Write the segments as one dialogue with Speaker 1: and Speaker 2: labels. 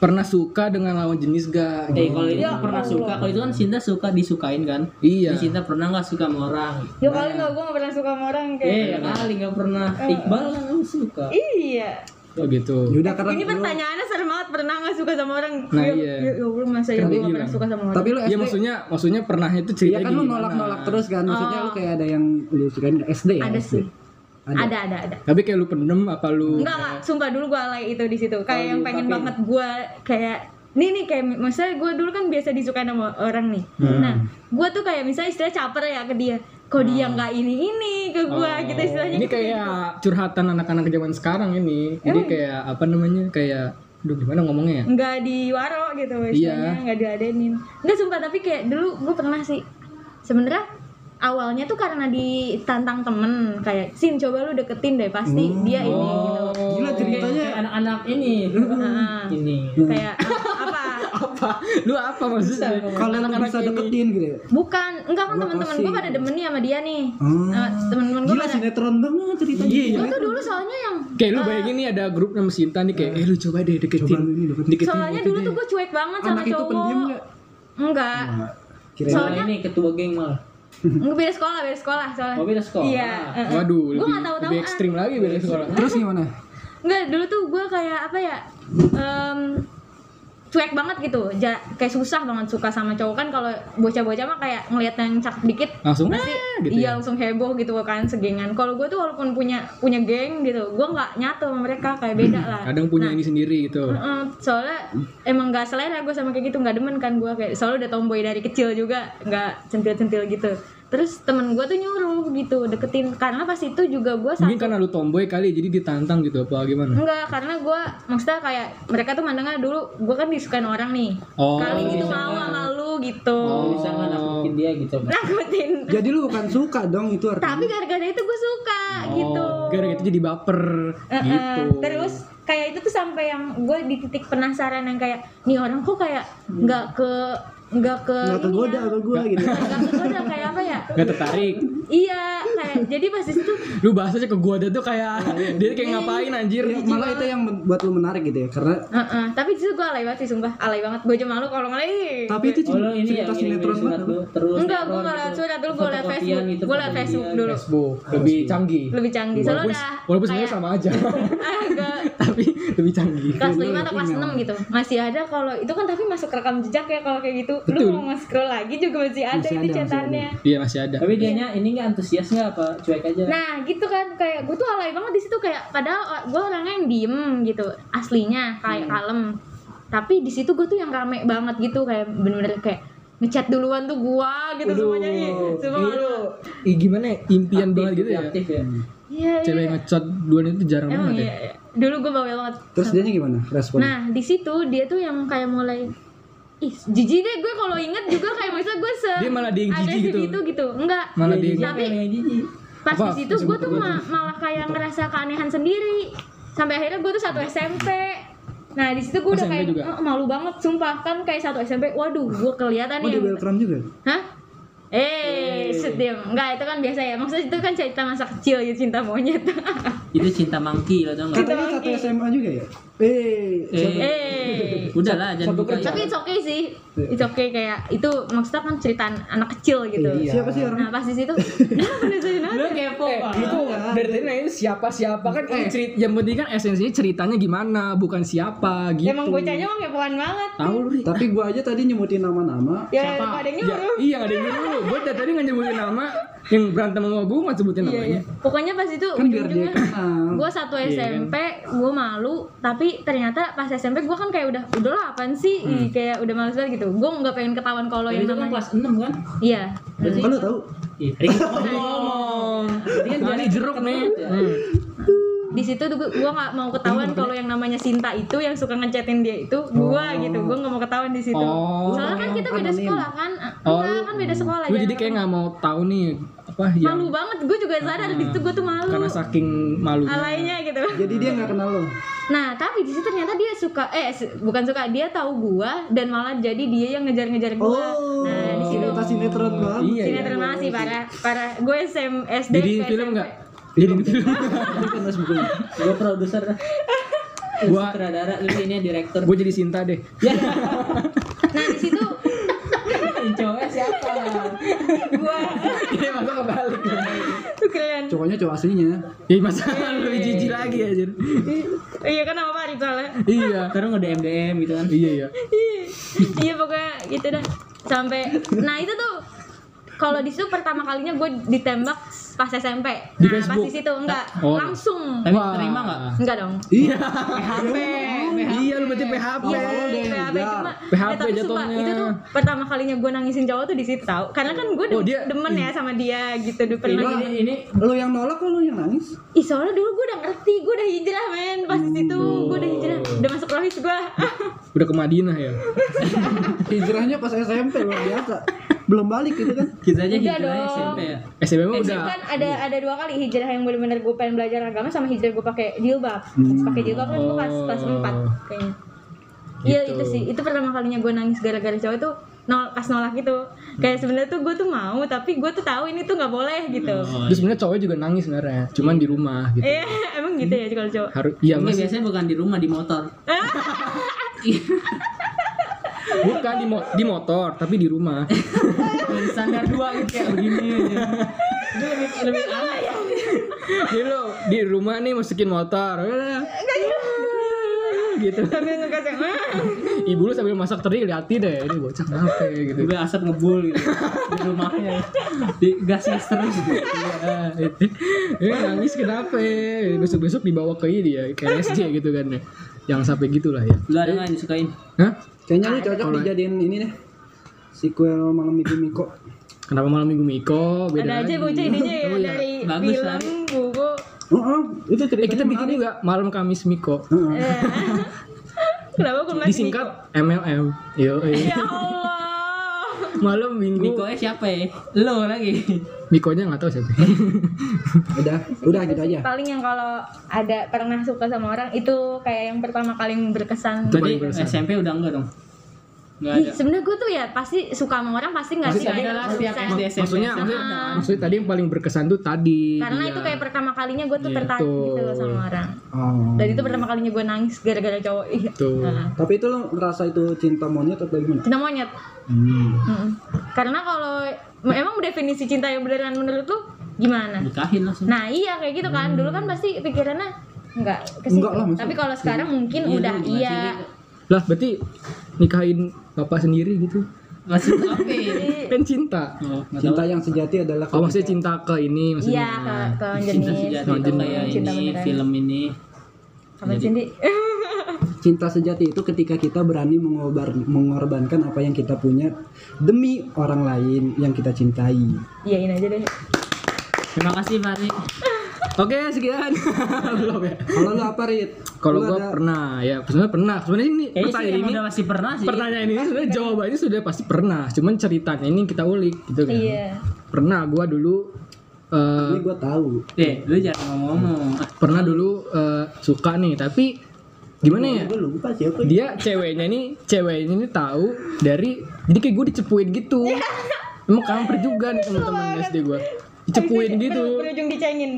Speaker 1: pernah suka dengan lawan jenis gak? Gitu.
Speaker 2: Eh kalau dia pernah suka, kalau itu kan Sinta suka disukain kan?
Speaker 1: Iya.
Speaker 2: Jadi Sinta pernah nggak suka sama orang?
Speaker 3: Ya kali nggak gue nggak pernah suka sama orang
Speaker 4: Iya.
Speaker 3: kayak.
Speaker 2: Eh ya kali nggak pernah. Iqbal kan kamu suka.
Speaker 3: Iya.
Speaker 1: Oh gitu.
Speaker 4: Yaudah Ya karena
Speaker 3: Ini
Speaker 4: lu-
Speaker 3: pertanyaannya serem banget pernah nggak suka sama orang?
Speaker 1: Nah,
Speaker 3: Ya-
Speaker 1: iya.
Speaker 3: Ya ya Allah masa
Speaker 1: Kan dia
Speaker 3: ya gue nggak pernah
Speaker 1: bilang.
Speaker 3: suka sama orang.
Speaker 4: tapi lu
Speaker 1: Iya
Speaker 4: SD
Speaker 1: maksudnya maksudnya pernah itu
Speaker 4: Iya
Speaker 1: ceritanya
Speaker 4: kan lu
Speaker 1: gimana?
Speaker 4: nolak-nolak terus kan Maksudnya lu kayak ada yang lu sukain nggak? SD ya?
Speaker 3: Oh. Ada
Speaker 4: SD?
Speaker 3: sih.
Speaker 4: Ada. ya.
Speaker 3: Ada ada ada.
Speaker 1: Tapi kayak lu pendem apa lu?
Speaker 3: Enggak enggak, sumpah dulu gue alay itu di situ. Kayak yang pengen banget gue kayak nih nih kayak misalnya gue dulu kan biasa disukain sama orang nih.
Speaker 4: Hmm.
Speaker 3: Nah, gue tuh kayak misalnya istilah caper ya ke dia. Kok dia
Speaker 4: Hmm.
Speaker 3: nggak ini ini ke gue
Speaker 4: Oh.
Speaker 3: gitu istilahnya.
Speaker 1: Ini kayak curhatan anak-anak zaman sekarang ini. Jadi kayak apa namanya? Kayak aduh gimana ngomongnya ya?
Speaker 3: nggak diwaro gitu istilahnya nggak diladenin nggak sumpah tapi kayak dulu gue pernah sih sebenarnya awalnya tuh karena ditantang temen kayak sin coba lu deketin deh pasti dia ini gitu
Speaker 4: Gila ceritanya
Speaker 2: Kayak anak-anak ini.
Speaker 3: Nah,
Speaker 2: Ini.
Speaker 3: kayak "Ah, apa
Speaker 1: Apa? Lu apa maksudnya?
Speaker 4: Kalau lu bisa deketin gitu ya
Speaker 3: bukan enggak kan teman-teman gue pada demen nih sama dia nih
Speaker 4: Hmm.
Speaker 3: Nah, temen-temen gue
Speaker 4: Gila
Speaker 3: pada
Speaker 4: sinetron banget ceritanya
Speaker 3: gue tuh dulu soalnya yang
Speaker 1: Kayak lu bayangin nih ada grup nama Sinta nih kayak eh lu coba deh deketin.
Speaker 4: Coba lu ini deketin.
Speaker 1: Deketin.
Speaker 3: soalnya dulu tuh gue cuek banget sama
Speaker 4: Anak itu pendiam
Speaker 3: cowok
Speaker 4: nggak?
Speaker 3: enggak
Speaker 4: Kirain
Speaker 2: Soalnya ini ketua geng malah.
Speaker 3: enggak beda sekolah beda sekolah soalnya
Speaker 2: Oh, beda sekolah.
Speaker 3: iya eh, eh.
Speaker 1: Waduh,
Speaker 3: Gua
Speaker 1: lebih,
Speaker 3: nggak ah. tahu-tahuan.
Speaker 1: lebih ekstrim lagi beda sekolah.
Speaker 4: Terus gimana?
Speaker 3: Enggak, dulu tuh gue kayak apa ya? em, cuek banget gitu. Ja- kayak susah banget suka sama cowok kan kalau bocah-bocah mah kayak ngelihat yang cakep dikit
Speaker 1: Langsung
Speaker 3: pasti
Speaker 1: "Ah," gitu ya.
Speaker 3: iya langsung heboh gitu kan segengan. Kalau gue tuh walaupun punya punya geng gitu, gue nggak nyatu sama mereka kayak beda lah.
Speaker 1: Hmm, Kadang Hmm. punya ini sendiri gitu.
Speaker 3: Heeh, soalnya emang gak selera gue sama kayak gitu nggak demen kan gue kayak soalnya udah tomboy dari kecil juga nggak centil-centil gitu terus temen gue tuh nyuruh gitu deketin karena pas itu juga gue
Speaker 1: Mungkin karena lu tomboy kali jadi ditantang gitu apa gimana?
Speaker 3: Enggak, karena gue maksudnya kayak mereka tuh mandangnya dulu gue kan disukain orang nih.
Speaker 1: Oh.
Speaker 3: Kali gitu mau sama lu gitu.
Speaker 2: Oh, bisa nggak nakutin dia gitu?
Speaker 3: Nakutin.
Speaker 4: Jadi lu bukan suka dong itu artinya
Speaker 3: Tapi gara-gara itu gue suka gitu.
Speaker 1: Gara-gara itu jadi baper
Speaker 3: Eh, eh,
Speaker 1: gitu.
Speaker 3: Terus kayak itu tuh sampai yang gue di titik penasaran yang kayak nih orang kok kayak nggak ke nggak ke
Speaker 4: Gak
Speaker 3: ini
Speaker 4: tergoda
Speaker 3: ya,
Speaker 4: sama gue gitu
Speaker 3: nggak kegoda kayak apa ya?
Speaker 1: Gak tertarik.
Speaker 3: Iya, kayak jadi pas di situ
Speaker 1: Lu bahasanya ke gua ada tuh kayak dia kayak ngapain anjir.
Speaker 4: Ya, Malah itu yang men- buat lu menarik gitu ya Karena
Speaker 3: eh, eh, tapi di situ gue alay banget sih sumpah, alay banget. Gue aja malu kalau ngelay.
Speaker 4: Tapi itu
Speaker 2: Oh, lo
Speaker 4: cerita
Speaker 2: ini ya
Speaker 4: cerita
Speaker 2: ngirim
Speaker 4: sinetron
Speaker 2: surat
Speaker 4: banget
Speaker 2: lu terus.
Speaker 3: Enggak, gue
Speaker 2: netron
Speaker 3: gak lewat
Speaker 2: gitu.
Speaker 3: surat dulu, gue lewat
Speaker 2: Fotokopian
Speaker 3: Facebook
Speaker 2: gitu,
Speaker 3: Gue lewat
Speaker 2: fotokopian.
Speaker 3: Facebook dulu
Speaker 1: Facebook lebih canggih.
Speaker 3: Lebih canggih, soalnya
Speaker 1: Walaupun,
Speaker 3: udah
Speaker 1: walaupun sebenarnya
Speaker 3: kayak
Speaker 1: sama aja,
Speaker 3: agak
Speaker 1: tapi lebih canggih.
Speaker 3: kelas 5 atau kelas
Speaker 1: ya.
Speaker 3: 6 gitu Masih ada kalau, itu kan tapi masuk rekam jejak ya kalau kayak gitu Lu
Speaker 1: Betul.
Speaker 3: kalau mau scroll lagi juga masih ada
Speaker 4: Masih
Speaker 3: itu
Speaker 4: ada, masih
Speaker 3: catatannya
Speaker 1: Iya masih ada.
Speaker 2: Tapi dianya ini nggak antusias nggak apa cuek aja?
Speaker 3: Nah gitu kan, kayak gue tuh alay banget di situ kayak Padahal gue orangnya yang diem gitu, aslinya kayak
Speaker 1: Hmm.
Speaker 3: kalem Tapi di situ gue tuh yang rame banget gitu Kayak bener-bener kayak ngechat duluan tuh gua gitu semuanya Ih, Sumpah
Speaker 1: Iya,
Speaker 3: malu.
Speaker 1: Ih, gimana ya? Impian banget gitu ya.
Speaker 2: Aktif ya.
Speaker 3: Iya, iya.
Speaker 1: Cewek ngechat duluan itu jarang
Speaker 3: Emang
Speaker 1: banget ya.
Speaker 3: iya, iya. Dulu gue bawel banget
Speaker 4: Terus dianya gimana? Respon
Speaker 3: Nah, di situ dia tuh yang kayak mulai ih, jijik deh gue kalau inget juga kayak misalnya gue se
Speaker 1: Dia malah dia yang
Speaker 3: agresif
Speaker 1: jijik gitu.
Speaker 3: itu gitu. Enggak.
Speaker 1: Malah dia yang-
Speaker 3: Tapi
Speaker 2: Kayak jijik.
Speaker 3: pas
Speaker 1: Apa?
Speaker 3: di situ gue tuh ma- malah kayak ngerasa keanehan sendiri. Sampai akhirnya gue tuh satu SMP. Nah, di situ
Speaker 1: Oh,
Speaker 3: gue udah
Speaker 1: SMP
Speaker 3: kayak
Speaker 1: juga?
Speaker 3: "Eh, malu banget sumpah kan kayak satu SMP. Waduh, gue kelihatan
Speaker 4: Oh
Speaker 3: nih
Speaker 4: di
Speaker 3: yang
Speaker 4: Belkram juga?
Speaker 3: Hah? Eh, sedih. Enggak, itu kan biasa ya. Maksudnya itu kan cerita masa kecil ya cinta monyet.
Speaker 2: Itu cinta mangki lo tau nggak?
Speaker 4: Katanya satu SMA juga ya? Eh
Speaker 2: Eh,
Speaker 3: eh.
Speaker 2: udah lah jangan
Speaker 4: satu
Speaker 2: buka ya.
Speaker 4: kerja.
Speaker 3: tapi it's okay sih it's okay kayak itu maksudnya kan cerita anak kecil gitu
Speaker 4: Siapa sih
Speaker 3: nah
Speaker 4: orang?
Speaker 3: pas di situ
Speaker 2: Lu kepo
Speaker 1: Itu dari tadi nanya siapa siapa kan ini cerita yang penting kan esensinya ceritanya gimana bukan siapa gitu.
Speaker 3: emang bocahnya emang kepoan banget
Speaker 1: tahu lu Ri.
Speaker 4: Tapi gua aja tadi nyebutin nama-nama
Speaker 3: ya ada yang
Speaker 1: Ya,
Speaker 3: nyuruh
Speaker 1: iya ada yang dulu. Gue dari tadi nggak nyebutin nama yang berantem sama gue nggak sebutin
Speaker 3: Iya, iya.
Speaker 1: namanya.
Speaker 3: pokoknya pas itu
Speaker 4: Kan biar dia
Speaker 3: ujung-ujungnya
Speaker 4: kenal
Speaker 3: gue satu SMP gue malu tapi ternyata pas SMP gue kan kayak udah udahlah apaan sih Ih, kayak udah males banget gitu gue nggak pengen ketahuan kalau
Speaker 2: Jadi
Speaker 3: yang
Speaker 2: itu kan
Speaker 3: namanya
Speaker 2: kelas 6 kan?
Speaker 3: iya
Speaker 4: Kan lu tau?
Speaker 2: Iya. Ring-
Speaker 1: Ngomong.
Speaker 2: kan Nah,
Speaker 1: Tadi jeruk nih.
Speaker 2: ya. Hmm.
Speaker 3: di situ tuh gue nggak mau ketahuan kalau yang namanya Sinta itu yang suka ngechatin dia itu gue gitu gue nggak mau ketahuan di situ
Speaker 1: Oh.
Speaker 3: soalnya kan kita beda sekolah kan
Speaker 1: Oh,
Speaker 3: enggak kan beda sekolah
Speaker 1: Gue
Speaker 3: jangan-
Speaker 1: jadi kayak nggak mau tahu nih apa ya, yang
Speaker 3: malu banget gue juga sadar di situ gue tuh malu
Speaker 1: karena saking malu.
Speaker 3: alaynya gitu
Speaker 4: Jadi dia gak kenal lo
Speaker 3: nah tapi di situ ternyata dia suka eh se- bukan suka dia tahu gue dan malah jadi dia yang ngejar-ngejar gue
Speaker 4: Oh
Speaker 3: nah di situ
Speaker 4: Cerita sinetron banget
Speaker 1: Iya. iya.
Speaker 3: sinetron banget sih parah parah gue SM SD
Speaker 1: Jadi
Speaker 3: ke
Speaker 1: film
Speaker 3: SMP.
Speaker 1: nggak? Jadi film.
Speaker 4: Tapi kan harus bukunya
Speaker 2: Gue produser. Gua
Speaker 1: Gua-
Speaker 2: sutradara lu ini direktur.
Speaker 1: Gue jadi Sinta deh.
Speaker 2: Ya,
Speaker 3: Nah di situ
Speaker 2: cowoknya siapa?
Speaker 3: gua
Speaker 1: Ini masa kebalik.
Speaker 3: keren.
Speaker 4: Cowoknya cowok aslinya.
Speaker 1: Ih masa lu jijik
Speaker 2: iya,
Speaker 1: lagi anjir.
Speaker 3: Iya kan nama Farid soalnya.
Speaker 1: Iya.
Speaker 2: Terus nge-DM DM gitu kan.
Speaker 1: Iya iya.
Speaker 3: iya pokoknya gitu dah sampai nah itu tuh kalau di situ pertama kalinya gue ditembak pas SMP
Speaker 1: Di
Speaker 3: nah pas
Speaker 1: Facebook?
Speaker 3: di situ enggak
Speaker 1: Oh.
Speaker 3: langsung
Speaker 2: Tapi
Speaker 1: Wah.
Speaker 2: terima enggak?
Speaker 3: enggak dong
Speaker 1: Iya.
Speaker 2: PHP.
Speaker 1: Iya lu berarti PHP.
Speaker 3: Iya, PHP
Speaker 4: ya.
Speaker 3: cuma
Speaker 1: PHP
Speaker 3: eh, tapi sumpah,
Speaker 1: jatuhnya.
Speaker 3: itu tuh pertama kalinya gue nangisin cowok tuh di situ tau karena kan gue
Speaker 1: Oh, dia- Iya.
Speaker 3: demen ya sama dia gitu
Speaker 2: Ini
Speaker 3: dulu pernah
Speaker 2: ini- ini
Speaker 4: Lu yang nolak kok lu yang nangis?
Speaker 3: Ih soalnya dulu gue udah ngerti, gue udah hijrah men Pas di situ gue udah hijrah, udah masuk rohis gue
Speaker 1: Udah ke Madinah ya.
Speaker 4: Hijrahnya pas SMP luar biasa. Belum balik gitu kan.
Speaker 2: kita aja
Speaker 3: Udah
Speaker 2: hijrah
Speaker 3: dong.
Speaker 2: SMP ya.
Speaker 1: SMP mah udah. iya.
Speaker 3: Kan ada ada dua kali hijrah yang bener-bener gue pengen belajar agama sama hijrah gue pakai jilbab
Speaker 1: Hmm.
Speaker 3: Pas pakai jilbab kan gue pas, pas 4 kayaknya Iya
Speaker 1: Oh. Gitu.
Speaker 3: itu sih, itu pertama kalinya gue nangis gara-gara cowok itu nol, pas nolak gitu Kayak sebenarnya tuh gue tuh mau, tapi gue tuh tahu ini tuh gak boleh gitu
Speaker 1: Terus sebenarnya cowoknya juga nangis sebenarnya, cuman di rumah gitu.
Speaker 3: Iya, emang gitu ya kalau cowok
Speaker 1: Harus iya
Speaker 2: Enggak,
Speaker 1: Mas.
Speaker 2: biasanya bukan di rumah di motor.
Speaker 1: Bukan di, mo- di motor, tapi di rumah.
Speaker 2: Dari standar dua gitu kayak begini ya. aja. Itu lebih lebih aneh.
Speaker 1: Jadi lo di rumah nih masukin motor. gitu.
Speaker 3: Sambil ngegas yang "Ah."
Speaker 1: Ibu lu sambil masak teri liatin deh, ini bocah kenapa ya, gitu.
Speaker 2: Gue asap ngebul gitu di rumahnya. Di gas gas terus gitu.
Speaker 1: Iya, itu. Eh, nangis kenapa? ya? Besok-besok dibawa ke ini ya, ke RSJ gitu kan ya. Yang sampai gitulah ya.
Speaker 2: Lu ada nggak yang disukain?
Speaker 1: Hah?
Speaker 4: Kayaknya
Speaker 3: Nah,
Speaker 4: lu cocok dijadiin ini deh. Sequel malam Minggu Miko.
Speaker 1: Kenapa malam Minggu Miko?
Speaker 3: Ada
Speaker 1: Beda
Speaker 3: aja
Speaker 1: lagi.
Speaker 3: bocah idenya ya
Speaker 1: Oh, iya.
Speaker 3: dari
Speaker 2: Bagus,
Speaker 3: film,
Speaker 2: Farid.
Speaker 3: buku
Speaker 4: Oh, oh, itu
Speaker 1: Eh,
Speaker 4: ceritanya
Speaker 1: kita bikin
Speaker 4: menarik.
Speaker 1: juga malam Kamis Miko.
Speaker 4: Heeh.
Speaker 3: Eh. Kenapa gue ngeliat
Speaker 1: Disingkat MLM. Yo,
Speaker 3: Miko?
Speaker 1: eh.
Speaker 3: Ya Allah.
Speaker 1: malam Minggu.
Speaker 2: Miko siapa ya? Lo lagi.
Speaker 1: Mikonya nggak tahu siapa.
Speaker 4: Udah, udah
Speaker 1: Iya,
Speaker 4: gitu aja.
Speaker 3: Paling yang kalau ada pernah suka sama orang itu kayak yang pertama kali yang berkesan.
Speaker 1: Itu-
Speaker 2: Berarti
Speaker 1: paling berkesan.
Speaker 2: SMP udah enggak dong? Enggak
Speaker 3: Ih,
Speaker 2: ada.
Speaker 3: sebenarnya gue tuh ya pasti suka sama orang pasti nggak sih
Speaker 2: Iya, Pasti ada lah setiap
Speaker 3: berkesan.
Speaker 2: SD SMP.
Speaker 1: maksudnya, maksudnya,
Speaker 3: Ah.
Speaker 1: maksudnya tadi yang paling berkesan tuh tadi.
Speaker 3: gitu. Karena
Speaker 2: iya.
Speaker 3: itu kayak pertama kalinya gue tuh tertarik gitu loh sama orang.
Speaker 4: Oh.
Speaker 3: Dan itu pertama kalinya gue nangis gara-gara cowok. Ih,
Speaker 1: Tuh.
Speaker 3: nah.
Speaker 4: Tapi itu lu ngerasa itu cinta monyet atau gimana?
Speaker 3: Cinta monyet. Mm-mm. Karena kalau emang definisi cinta yang beneran menurut lu gimana?
Speaker 2: Nikahin langsung.
Speaker 3: Nah iya kayak gitu kan dulu kan pasti pikirannya nggak kesitu.
Speaker 4: Enggak lah, maksudnya.
Speaker 3: Tapi kalau sekarang mungkin
Speaker 2: Iya,
Speaker 3: udah
Speaker 2: lu gimana
Speaker 3: iya.
Speaker 2: sih?
Speaker 1: Lah, berarti nikahin bapak sendiri gitu.
Speaker 2: Masih apa?
Speaker 1: Kan cinta.
Speaker 2: Oh, nggak tahu.
Speaker 4: Cinta yang sejati adalah
Speaker 1: Oh, maksudnya cinta ke ini
Speaker 3: Iya
Speaker 1: maksudnya.
Speaker 3: ke ke
Speaker 2: Cinta
Speaker 3: jenis. gitu,
Speaker 2: sejati itu kayak
Speaker 3: Cinta
Speaker 2: ini
Speaker 3: beneran.
Speaker 2: film ini.
Speaker 3: Apa Cindy?
Speaker 4: cinta sejati itu ketika kita berani mengobar, mengorbankan apa yang kita punya demi orang lain yang kita cintai.
Speaker 3: Iyain aja deh.
Speaker 2: Terima kasih Mari.
Speaker 1: Oke, sekian. Belum ya.
Speaker 4: Kalau lu apa, Rit?
Speaker 1: Kalau
Speaker 4: Lu
Speaker 1: gua
Speaker 4: ada-
Speaker 1: pernah ya, sebenarnya pernah. Sebenarnya ini
Speaker 2: Kayaknya sih
Speaker 1: pertanyaan
Speaker 2: emang
Speaker 1: ini,
Speaker 2: udah masih pernah sih.
Speaker 1: pertanyaan ini sebenarnya jawabannya sudah pasti pernah. Cuman ceritanya ini kita ulik gitu kan.
Speaker 3: Iya.
Speaker 1: Pernah gua dulu eh,
Speaker 4: Ini gua tahu.
Speaker 2: Eh, lu jangan ngomong-ngomong.
Speaker 1: pernah dulu eh, suka nih, tapi gimana ya?
Speaker 4: Gua lupa siapa.
Speaker 1: Dia ceweknya ini, ceweknya ini tahu dari jadi kayak gue dicepuin gitu. Emang kampret juga nih teman-teman SD gua. Dicepuin gitu.
Speaker 3: Ber- Berujung dicengin.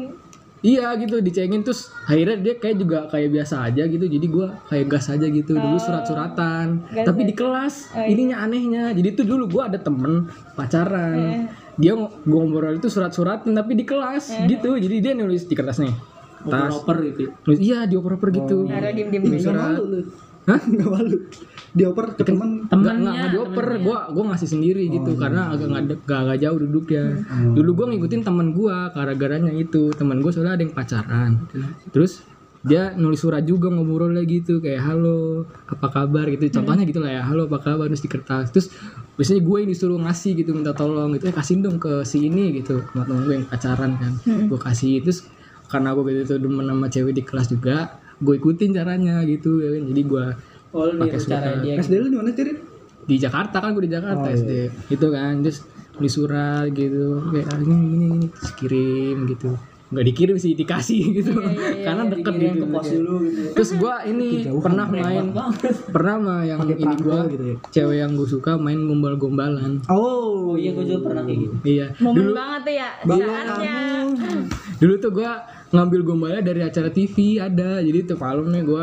Speaker 1: Iya gitu dicengin terus akhirnya dia kayak juga kayak biasa aja gitu jadi gua kayak gas aja gitu dulu surat-suratan
Speaker 3: Oh.
Speaker 1: tapi
Speaker 3: Gas aja. Oh, iya.
Speaker 1: di kelas ininya anehnya jadi tuh dulu gua ada temen
Speaker 3: Eh.
Speaker 1: pacaran dia ngo- gua ngobrol itu surat-suratan tapi di kelas
Speaker 3: Eh.
Speaker 1: gitu jadi dia nulis di kertas nih kertas
Speaker 2: Oper-oper gitu.
Speaker 1: nulis iya dioper-oper gitu
Speaker 3: Taruh diem diem.
Speaker 4: Ih, nggak malu lu.
Speaker 1: Hah?
Speaker 4: Nggak malu. Dioper ke temen.
Speaker 1: Nggak, nggak, nggak
Speaker 2: Temennya.
Speaker 1: dioper, gue gua ngasih sendiri gitu karena agak nggak de- nggak agak jauh duduknya. Dulu gue ngikutin temen gue, gara-garanya itu temen gue soalnya ada yang pacaran. Terus dia nulis surat juga ngobrolnya gitu kayak halo apa kabar gitu contohnya gitu lah ya halo apa kabar terus di kertas terus biasanya gue yang disuruh ngasih gitu minta tolong gitu eh kasihin dong ke si ini gitu sama temen gue yang pacaran kan gue kasih terus karena gue gitu tuh demen sama cewek di kelas juga gue ikutin caranya gitu ya kan jadi gue
Speaker 2: Oh, lu
Speaker 1: Pakai
Speaker 2: niru caranya dia.
Speaker 4: SD lu di mana sih, Rit?
Speaker 1: di Jakarta kan gue di Jakarta
Speaker 4: Oh, iya.
Speaker 1: SD gitu kan terus beli surat gitu kayak ah, gini gini, gini. Terus kirim gitu nggak dikirim sih dikasih gitu
Speaker 2: Iya,
Speaker 1: karena deket
Speaker 2: Dikirim
Speaker 1: gitu
Speaker 2: ke pos dulu gitu.
Speaker 1: terus gue ini
Speaker 4: Kejauhan,
Speaker 1: pernah main
Speaker 2: Banget.
Speaker 1: pernah mah yang
Speaker 4: Pakai
Speaker 1: ini
Speaker 4: perangko
Speaker 1: gue
Speaker 4: gitu ya.
Speaker 1: cewek yang gue suka main gombal-gombalan
Speaker 4: Oh,
Speaker 2: Oh iya, gue juga pernah kayak gitu.
Speaker 1: iya
Speaker 3: Momen
Speaker 1: dulu
Speaker 3: banget tuh ya
Speaker 4: Bangun
Speaker 3: saatnya.
Speaker 1: dulu tuh gue ngambil gombalnya dari acara TV ada jadi tuh malam nih gue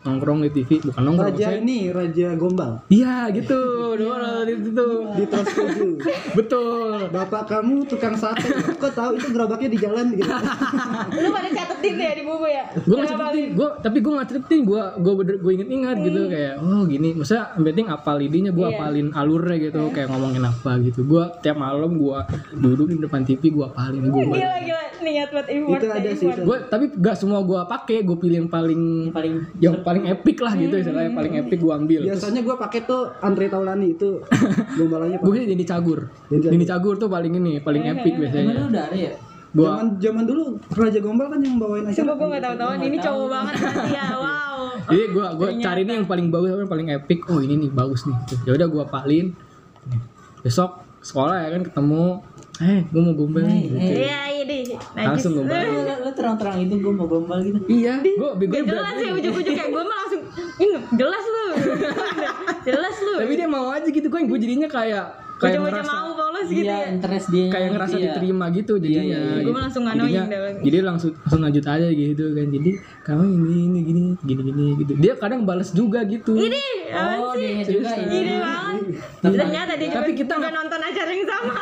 Speaker 1: nongkrong di TV bukan nongkrong maksudnya-
Speaker 4: Raja ini Raja Gombal
Speaker 1: iya gitu doang itu tuh
Speaker 2: Iya.
Speaker 4: di Trans 7.
Speaker 1: betul
Speaker 4: Bapak kamu tukang sate, kok tahu itu gerobaknya di jalan gitu.
Speaker 3: Lu pada catetin ya di buku ya?
Speaker 1: gue ngacetin gue tapi gue ngacetin gue gue bener gue inget-inget gitu kayak oh gini maksudnya yang penting apal idenya gue
Speaker 3: Iya.
Speaker 1: apalin alurnya gitu kayak ngomongin apa gitu gue tiap malam gue duduk di depan TV gue apalin gue
Speaker 3: Gila gila niat buat import.
Speaker 4: itu ada sih. itu.
Speaker 1: gue tapi gak semua gue pakai gue pilih yang paling
Speaker 2: Yang paling
Speaker 1: yang paling epic lah gitu istilahnya yang paling epic gue ambil
Speaker 4: Biasanya gue pakai tuh Andre Taulani itu gombalannya
Speaker 1: gue
Speaker 4: Pak.
Speaker 1: sih jadi cagur
Speaker 4: Dini Cagur.
Speaker 1: jadi cagur tuh paling ini paling epic
Speaker 2: emang lu
Speaker 1: biasanya
Speaker 2: udah ada ya
Speaker 1: gue
Speaker 4: Zaman zaman dulu Raja Gombal kan yang bawain
Speaker 3: Coba
Speaker 4: acara.
Speaker 3: gue gak tahu-tahu ini cowok banget pasti ya. Wow.
Speaker 1: jadi gue gue cari nih yang paling bagus apa yang paling epic oh ini nih bagus nih ya udah gue apalin besok sekolah ya kan ketemu eh gue mau gombal nih gitu.
Speaker 3: Iya iya deh. Najis.
Speaker 1: langsung
Speaker 3: Eh,
Speaker 1: gombal
Speaker 2: lu, lu- lu terang-terang itu gue mau gombal gitu
Speaker 1: iya gue
Speaker 3: Gak
Speaker 1: begonya
Speaker 3: jelas
Speaker 1: berani
Speaker 3: ya ujung-ujung kayak gue mah langsung ini jelas lu. jelas lu.
Speaker 1: tapi dia mau aja gitu kan gue jadinya kayak kayak
Speaker 3: Ujung-ujung
Speaker 1: ngerasa
Speaker 3: mau polos gitu
Speaker 2: iya
Speaker 3: ya.
Speaker 2: interest dia
Speaker 1: kayak ngerasa diterima gitu jadinya
Speaker 2: iya, iya.
Speaker 1: gitu.
Speaker 3: Gua langsung nganoin
Speaker 1: Jadinya-
Speaker 3: dah.
Speaker 1: jadi langsung langsung lanjut aja gitu kan jadi kamu ini ini gini gini gini gitu dia kadang balas juga gitu
Speaker 3: Ini apaan
Speaker 2: oh
Speaker 3: sih?
Speaker 2: dia juga
Speaker 3: Ini
Speaker 2: ini
Speaker 3: banget.
Speaker 2: Tapi-
Speaker 3: Ternyata dia juga,
Speaker 1: iya, tapi kita
Speaker 3: juga
Speaker 1: nggak-
Speaker 3: nonton acara yang sama.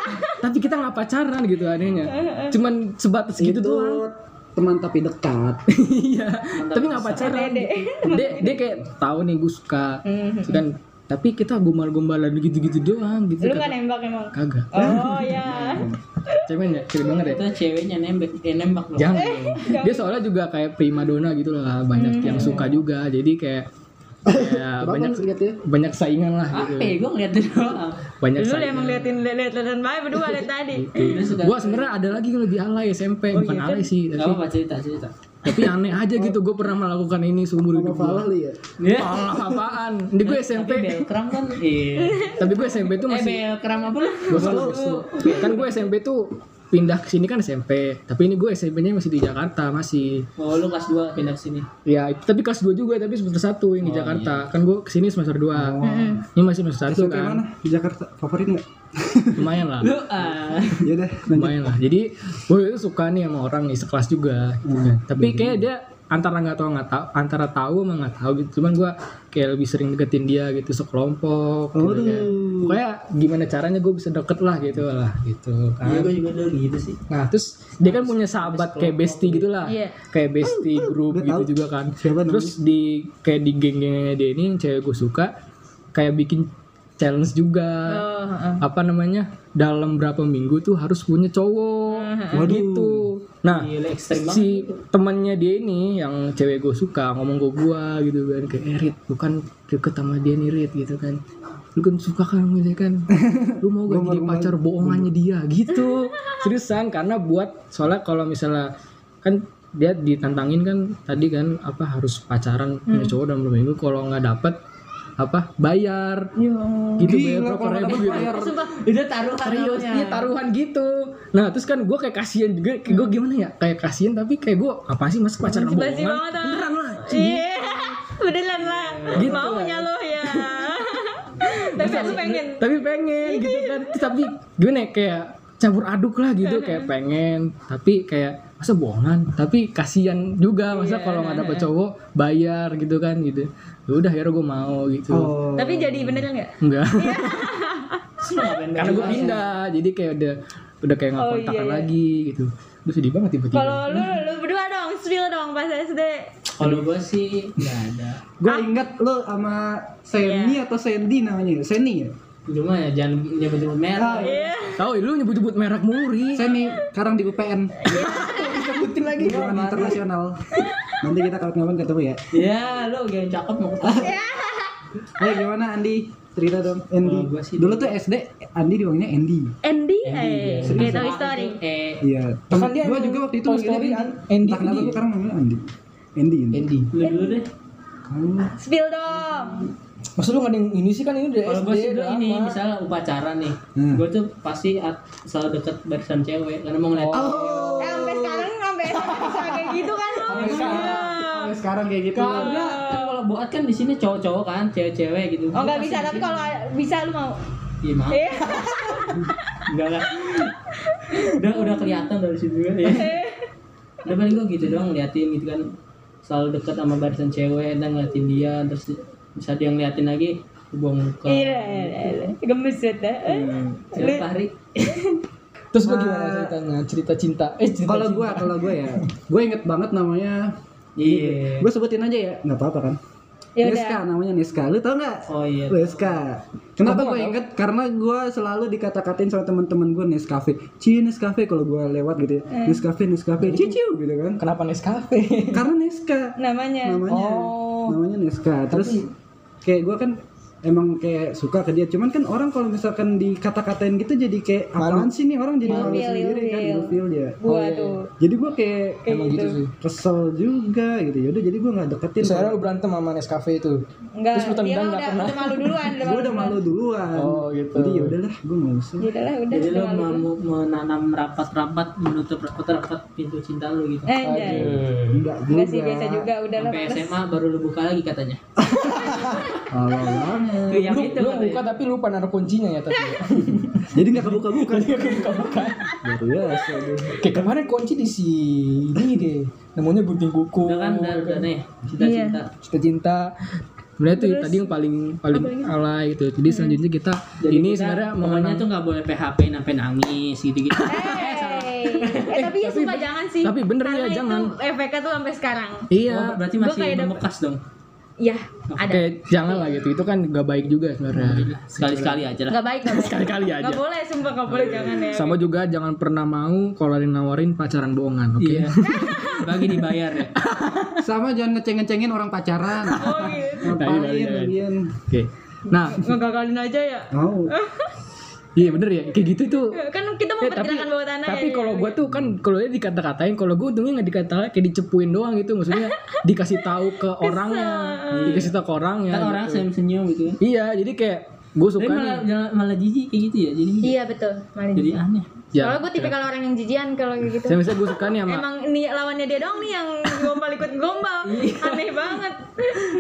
Speaker 1: tapi kita nggak pacaran gitu anehnya cuman sebatas
Speaker 4: Itu
Speaker 1: gitu doang
Speaker 4: teman tapi dekat.
Speaker 1: iya tapi nggak pacaran gitu. dia dia kayak tahu nih gue suka Terus kan tapi kita gombal-gombalan gitu-gitu doang gitu
Speaker 3: Lu
Speaker 1: kata-
Speaker 3: gak nembak emang?
Speaker 1: kagak
Speaker 3: Oh ya.
Speaker 1: cemen ya cewek banget ya
Speaker 2: itu ceweknya nembak dia nembak dong
Speaker 1: jangan dia soalnya juga kayak primadona gitu lah banyak yang suka juga jadi kayak kayak banyak
Speaker 4: Kenapa banyak lihat ya?
Speaker 1: banyak saingan lah gitu
Speaker 2: apa ya gue ngeliat dia doang
Speaker 1: banyak
Speaker 3: Lu Eh,
Speaker 1: saingan Gitu.
Speaker 3: emang liatin liat-liatan baik berdua liat tadi.
Speaker 2: Dia suka
Speaker 1: gua sebenarnya ada lagi yang lebih alay SMP bukan alay sih
Speaker 2: Gak
Speaker 1: tapi,
Speaker 2: apa-apa cerita cerita
Speaker 1: tapi aneh aja gitu gue pernah melakukan ini seumur
Speaker 4: Sama
Speaker 1: hidup gua
Speaker 4: Falah li ya.
Speaker 2: Iya.
Speaker 1: Allah apaan di gue SMP
Speaker 2: Tapi belkram kan iya.
Speaker 1: tapi gue SMP tuh
Speaker 2: Eh
Speaker 1: masih
Speaker 2: belkram apa lu?
Speaker 1: Gua selalu- kan gue SMP tuh pindah ke sini kan SMP tapi ini gue SMP-nya masih di Jakarta masih
Speaker 2: Oh lu kelas 2 pindah ke sini.
Speaker 1: ya tapi kelas 2 juga tapi semester 1
Speaker 4: Oh,
Speaker 1: ini
Speaker 4: iya.
Speaker 1: Jakarta kan gue kesini semester 2 ini masih semester 1
Speaker 4: SMP
Speaker 1: kan
Speaker 4: mana? Di Jakarta favorit nggak?
Speaker 1: lumayan lah
Speaker 2: Lu ah.
Speaker 4: Ya deh.
Speaker 1: lumayan lah jadi gue itu suka nih sama orang nih sekelas juga gitu kan.
Speaker 4: Hmm.
Speaker 1: tapi kayak dia antara nggak tahu nggak tahu antara tahu sama nggak tahu gitu cuman gue kayak lebih sering deketin dia gitu sekelompok gitu kan.
Speaker 4: Aduh.
Speaker 1: pokoknya gimana caranya gue bisa deket lah gitu lah gitu kan.
Speaker 2: Iya gua juga dulu gitu sih.
Speaker 1: nah terus dia kan punya sahabat kayak bestie gitulah
Speaker 3: Iya.
Speaker 1: kayak bestie grup
Speaker 4: Oh, Udah
Speaker 1: gitu
Speaker 4: tahu.
Speaker 1: juga kan
Speaker 4: Siapa namanya?
Speaker 1: terus di kayak di geng-gengnya dia ini yang cewek gue suka kayak bikin challenge juga
Speaker 3: Oh, heeh.
Speaker 1: apa namanya dalam berapa minggu tuh harus punya cowok
Speaker 4: Waduh.
Speaker 1: gitu nah
Speaker 2: Iya lu ekstrim banget.
Speaker 1: si temannya dia ini yang cewek gue suka ngomong gue gua gitu kan kayak eh, Rit, lu kan deket sama dia nih Rit gitu kan lu kan suka kan gitu kan lu mau gak jadi pacar bohongannya dia gitu seriusan karena buat soalnya kalau misalnya kan dia ditantangin kan tadi kan apa harus pacaran punya
Speaker 2: Hmm.
Speaker 1: cowok dalam dua minggu kalau nggak dapet apa
Speaker 2: Iya.
Speaker 1: bayar gitu bayar
Speaker 4: Gila,
Speaker 1: berapa
Speaker 4: kalau
Speaker 1: ribu
Speaker 4: dapet
Speaker 1: gitu
Speaker 4: bayar.
Speaker 2: Udah taruh
Speaker 1: serius iya taruhan gitu nah terus kan gue kayak kasihan juga gue gimana ya kayak kasihan tapi kayak gue apa sih mas pacaran bohongan
Speaker 3: Basi banget ah.
Speaker 1: beneran lah Ci.
Speaker 3: Iya. Beneran lah.
Speaker 1: Gitu
Speaker 3: Mau
Speaker 1: lah.
Speaker 3: punya lo ya. Tapi aku pengen.
Speaker 1: tapi pengen gitu kan Terus tapi gimana ya, kayak campur aduk lah gitu kayak pengen tapi kayak masa bohongan tapi kasihan juga masa
Speaker 3: Iya,
Speaker 1: kalau nggak dapet cowok bayar gitu kan gitu ya udah akhirnya gue mau gitu
Speaker 4: Oh.
Speaker 3: Tapi jadi beneran nggak?
Speaker 1: enggak
Speaker 2: Terus lu ngapain?
Speaker 1: karena gue pindah jadi kayak udah udah kayak nggak
Speaker 3: Iya, Oh,
Speaker 1: kontakan
Speaker 3: iya, iya.
Speaker 1: lagi gitu Udah sedih banget tiba-tiba
Speaker 3: Kalau lu, lu berdua dong, spill dong pas SD.
Speaker 2: Kalau gua sih enggak ada.
Speaker 4: Gue ingat lo sama Sandy atau Sandy namanya, Sandy ya?
Speaker 2: Cuma ya jangan nyebut-nyebut merah.
Speaker 4: Ah,
Speaker 3: Iya.
Speaker 1: Tahu lu nyebut-nyebut merek muri.
Speaker 4: Sandy, sekarang di UPN.
Speaker 2: Sebutin lagi.
Speaker 4: Hubungan kan internasional. Nanti kita kapan-kapan ketemu ya.
Speaker 2: Ya, lu gak cakep mau
Speaker 3: Eh,
Speaker 2: ketawa.
Speaker 4: Ayo gimana Andi? Cerita dong Andi.
Speaker 2: Kalau gua sih
Speaker 4: Dulu tuh SD Andi dipanggilnya Andy.
Speaker 3: Andy,
Speaker 1: iya.
Speaker 3: eh, kayak Toy story.
Speaker 2: Eh,
Speaker 4: Iya.
Speaker 1: Bahkan
Speaker 4: Temen
Speaker 1: dia
Speaker 4: gua
Speaker 1: emang
Speaker 4: juga waktu itu
Speaker 1: Toy Story,
Speaker 4: manggilnya
Speaker 1: An- Andy,
Speaker 4: Entah kenapa
Speaker 1: Andy.
Speaker 4: gua sekarang manggilnya Andi. Andy. Andy.
Speaker 1: Andy.
Speaker 2: lu dulu deh.
Speaker 4: Kamu
Speaker 3: Spill dong.
Speaker 1: Maksud lu nggak ada yang ini sih kan ini udah
Speaker 2: Kalau
Speaker 1: SD.
Speaker 2: gua sih dulu
Speaker 1: udah
Speaker 2: ini
Speaker 1: lama.
Speaker 2: misalnya upacara nih,
Speaker 4: Hmm.
Speaker 2: gua tuh pasti at- selalu deket barisan cewek karena mau ngeliat.
Speaker 3: Eh, sampai sekarang sampai bisa kayak gitu kan lu.
Speaker 4: Sampai sekarang kayak gitu.
Speaker 2: Kagak, kan kalau buat kan di sini cowok-cowok kan, cewek-cewek gitu.
Speaker 3: Oh nggak bisa, tapi kalau ada- bisa lu mau.
Speaker 2: Gimana?
Speaker 3: Eh,
Speaker 2: Enggak lah. Udah udah kelihatan dari situ kan ya. Udah paling gue gitu doang ngeliatin gitu kan. selalu dekat sama barisan cewek dan ngeliatin dia terus bisa dia ngeliatin lagi buang muka
Speaker 5: Iya, iya, iya. gemes ya teh.
Speaker 3: Eh,
Speaker 1: Hmm.
Speaker 2: Setiap hari
Speaker 1: Terus lu gimana
Speaker 5: Ah.
Speaker 1: ceritanya? Cerita cinta. Eh, cerita
Speaker 4: Kalau gue, kalau gue ya, gue inget banget namanya.
Speaker 2: iya
Speaker 4: Gue sebutin aja ya, nggak apa-apa kan?
Speaker 5: Ya udah.
Speaker 4: Niska namanya Niska. Lu tau nggak?
Speaker 2: oh iya
Speaker 4: Niska. Kenapa gue inget? Karena gue selalu dikata-katain sama teman-teman gue Nescafe. Cie Nescafe kalau gue lewat gitu ya.
Speaker 5: Eh.
Speaker 4: Nescafe, Nescafe, ciciu gitu kan.
Speaker 1: Kenapa Nescafe?
Speaker 4: Karena Niska.
Speaker 5: Namanya.
Speaker 4: namanya
Speaker 5: Oh.
Speaker 4: namanya Neska terus kayak gue kan emang kayak suka ke dia cuman kan orang kalau misalkan dikata-katain gitu jadi kayak apaan sih nih orang jadi malu
Speaker 5: Ilfil,
Speaker 4: sendiri kan
Speaker 5: ilfil.
Speaker 4: ilfil dia
Speaker 5: Gua tuh.
Speaker 4: jadi gue kayak
Speaker 5: Kayak
Speaker 1: Oh, iya, Emang gitu
Speaker 5: gitu.
Speaker 1: sih.
Speaker 4: kesel juga gitu yaudah jadi gue nggak deketin
Speaker 1: Terus akhirnya lu berantem sama Nescafe itu.
Speaker 5: Enggak,
Speaker 1: Terus lu tendang
Speaker 3: Iya,
Speaker 5: dia mah
Speaker 1: nggak
Speaker 5: udah, udah
Speaker 1: pernah.
Speaker 5: malu duluan. Udah
Speaker 4: gue udah malu duluan
Speaker 1: Oh, gitu.
Speaker 4: jadi yaudahlah gue nggak usah
Speaker 5: Gitu lah,
Speaker 3: Eh,
Speaker 5: udah.
Speaker 2: jadi
Speaker 5: udah
Speaker 2: lo
Speaker 5: malu.
Speaker 2: mau menanam rapat-rapat menutup rapat-rapat pintu cinta lo gitu
Speaker 5: Eh, enggak.
Speaker 1: Hmm.
Speaker 4: enggak juga
Speaker 5: Enggak sih, biasa juga. Udah lah.
Speaker 2: sampai SMA baru lo buka lagi katanya
Speaker 4: Awal banget.
Speaker 2: Tuh, yang
Speaker 1: Lu,
Speaker 2: itu
Speaker 1: lu
Speaker 2: katanya.
Speaker 1: buka tapi lupa naruh kuncinya ya tadi.
Speaker 4: jadi nggak kebuka-buka
Speaker 1: Buka-buka.
Speaker 4: baru biasa deh
Speaker 1: Kayak kemarin kunci di sini deh. Namanya gunting kuku.
Speaker 2: udah kan udah udah nih
Speaker 5: Iya.
Speaker 2: cinta-cinta
Speaker 1: Cita cinta. Sebenarnya itu tadi yang paling paling alay gitu. Jadi selanjutnya kita ini
Speaker 2: kita
Speaker 1: sebenarnya
Speaker 2: pokoknya
Speaker 1: mengenang-
Speaker 2: tuh nggak boleh PHP sampai nangis gitu-gitu
Speaker 3: Hey. eh tapi ya sumpah jangan sih.
Speaker 1: tapi bener ya,
Speaker 3: Karena itu
Speaker 1: jangan.
Speaker 3: efeknya tuh sampai sekarang.
Speaker 2: Oh,
Speaker 1: Iya.
Speaker 2: berarti
Speaker 3: Gua
Speaker 2: masih
Speaker 3: kayak dapet-
Speaker 2: membekas dong
Speaker 3: Ya, ada.
Speaker 1: Oke, jangan lah gitu. Itu kan gak baik juga sebenarnya.
Speaker 2: sekali-sekali aja lah
Speaker 3: Nggak baik nggak baik.
Speaker 1: Sekali-kali aja. Iya,
Speaker 3: Nggak boleh sumpah nggak boleh jangan ya.
Speaker 1: Sama juga jangan pernah mau kalau ada yang nawarin pacaran bohongan, oke?
Speaker 2: Iya. Bagi dibayar ya.
Speaker 4: sama jangan ngeceng-ngecengin orang pacaran
Speaker 1: Tadi,
Speaker 4: ngapain
Speaker 1: tadi, tadi.
Speaker 4: lagian
Speaker 1: Oke. Nah,
Speaker 5: Ngegagalin aja ya.
Speaker 4: mau
Speaker 1: iya bener ya. Kayak gitu tuh.
Speaker 3: Kan kita mau
Speaker 1: Eh, tapi
Speaker 3: pergerakan bawah tanah
Speaker 1: tapi
Speaker 3: ya.
Speaker 1: kalau gua tuh kan kalau dia dikata-katain, kalau gua untungnya nggak dikata-katain, kayak dicepuin doang gitu. Maksudnya dikasih tahu ke orangnya, dikasih tahu ke orangnya.
Speaker 2: Kan orang
Speaker 1: gitu.
Speaker 2: senyum senyum gitu kan.
Speaker 1: Iya, jadi kayak gue
Speaker 2: Tapi
Speaker 1: suka nih.
Speaker 2: malah malah- malah jijik kayak gitu ya. Jadi
Speaker 3: Iya betul. Malah
Speaker 2: jadi aneh.
Speaker 1: Ya,
Speaker 3: Soalnya gue tipikal orang yang jijian kalau kayak gitu.
Speaker 1: saya misalnya gue suka nih sama
Speaker 3: Emang ini lawannya dia doang nih yang gombal ikut gombal.
Speaker 1: Iya.
Speaker 3: Aneh banget.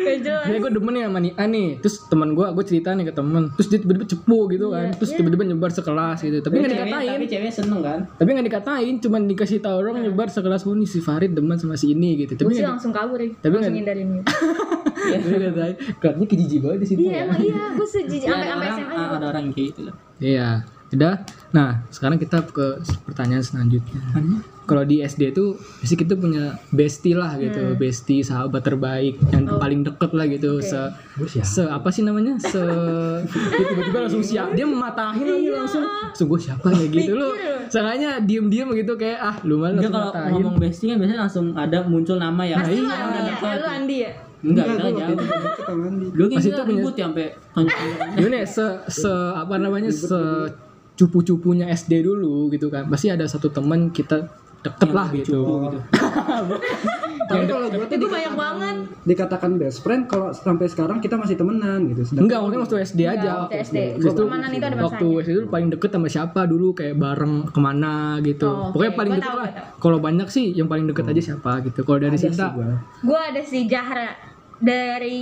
Speaker 3: Gak jelas.
Speaker 1: Kayak gue demen nih sama Nia nih Terus teman gue, gue cerita nih ke temen Terus dia tiba-tiba cepu gitu kan Terus tiba-tiba nyebar sekelas gitu Tapi gak
Speaker 2: Cewek-
Speaker 1: dikatain
Speaker 2: tapi cewek seneng kan.
Speaker 1: Tapi gak dikatain Cuman dikasih tau orang nyebar sekelas pun Si Farid demen sama si ini gitu
Speaker 3: Gue
Speaker 1: Tapi
Speaker 3: sih
Speaker 1: gak
Speaker 3: langsung kabur ya.
Speaker 1: Tapi
Speaker 3: langsung
Speaker 1: nggak-
Speaker 3: hindarin gitu.
Speaker 1: dikatain Kelihatannya kejijik banget di situ
Speaker 3: Iya emang iya. Gue sejijik
Speaker 2: Ya,
Speaker 3: sampai
Speaker 2: ada
Speaker 3: sampai
Speaker 2: orang
Speaker 3: SMA.
Speaker 2: ah, ada orang kayak gitu lah.
Speaker 1: Iya Udah Nah sekarang kita ke pertanyaan selanjutnya kalau di SD itu pasti kita punya bestie lah gitu, bestie sahabat terbaik yang paling deket lah gitu, se, se apa sih namanya, se dia tiba-tiba langsung siap, dia mematahin lagi langsung, langsung gue siapa ya gitu loh, seenggaknya diem-diem gitu kayak ah lu malah
Speaker 2: Dia
Speaker 1: langsung
Speaker 2: kalau
Speaker 1: matahin,
Speaker 2: ngomong bestie kan biasanya langsung ada muncul nama ya.
Speaker 3: Pasti lu
Speaker 2: Iya.
Speaker 3: Andi ya. Eh, Lu Andi ya.
Speaker 2: Enggak,
Speaker 4: Enggak,
Speaker 2: enggak
Speaker 4: gua
Speaker 2: jauh.
Speaker 4: waktu itu deket sama Andi.
Speaker 2: Dulu kan
Speaker 1: Pas
Speaker 2: kita
Speaker 1: itu punya-
Speaker 2: ribut ya sampai tonjol.
Speaker 1: gimana ya, se, se apa namanya, se cupu-cupunya SD dulu gitu kan, pasti ada satu teman kita deket lah gitu,
Speaker 4: tapi kalau gue tuh
Speaker 3: Itu banyak banget.
Speaker 4: dikatakan best friend kalau sampai sekarang kita masih temenan gitu sedangkan
Speaker 1: Enggak, maksudnya waktu SD aja.
Speaker 3: waktu SD.
Speaker 1: Terus tuh,
Speaker 3: Pertemanan itu ada
Speaker 1: waktu SD dulu paling deket sama siapa dulu kayak bareng kemana gitu.
Speaker 3: Oh, oke.
Speaker 1: Pokoknya paling
Speaker 3: Gua
Speaker 1: deket
Speaker 3: tahu,
Speaker 1: lah.
Speaker 3: gua
Speaker 1: Kalau banyak sih yang paling deket aja siapa gitu. Kalau dari
Speaker 4: Oh. ada
Speaker 1: Sinta,
Speaker 4: sih gua.
Speaker 3: Gue ada si Jahra dari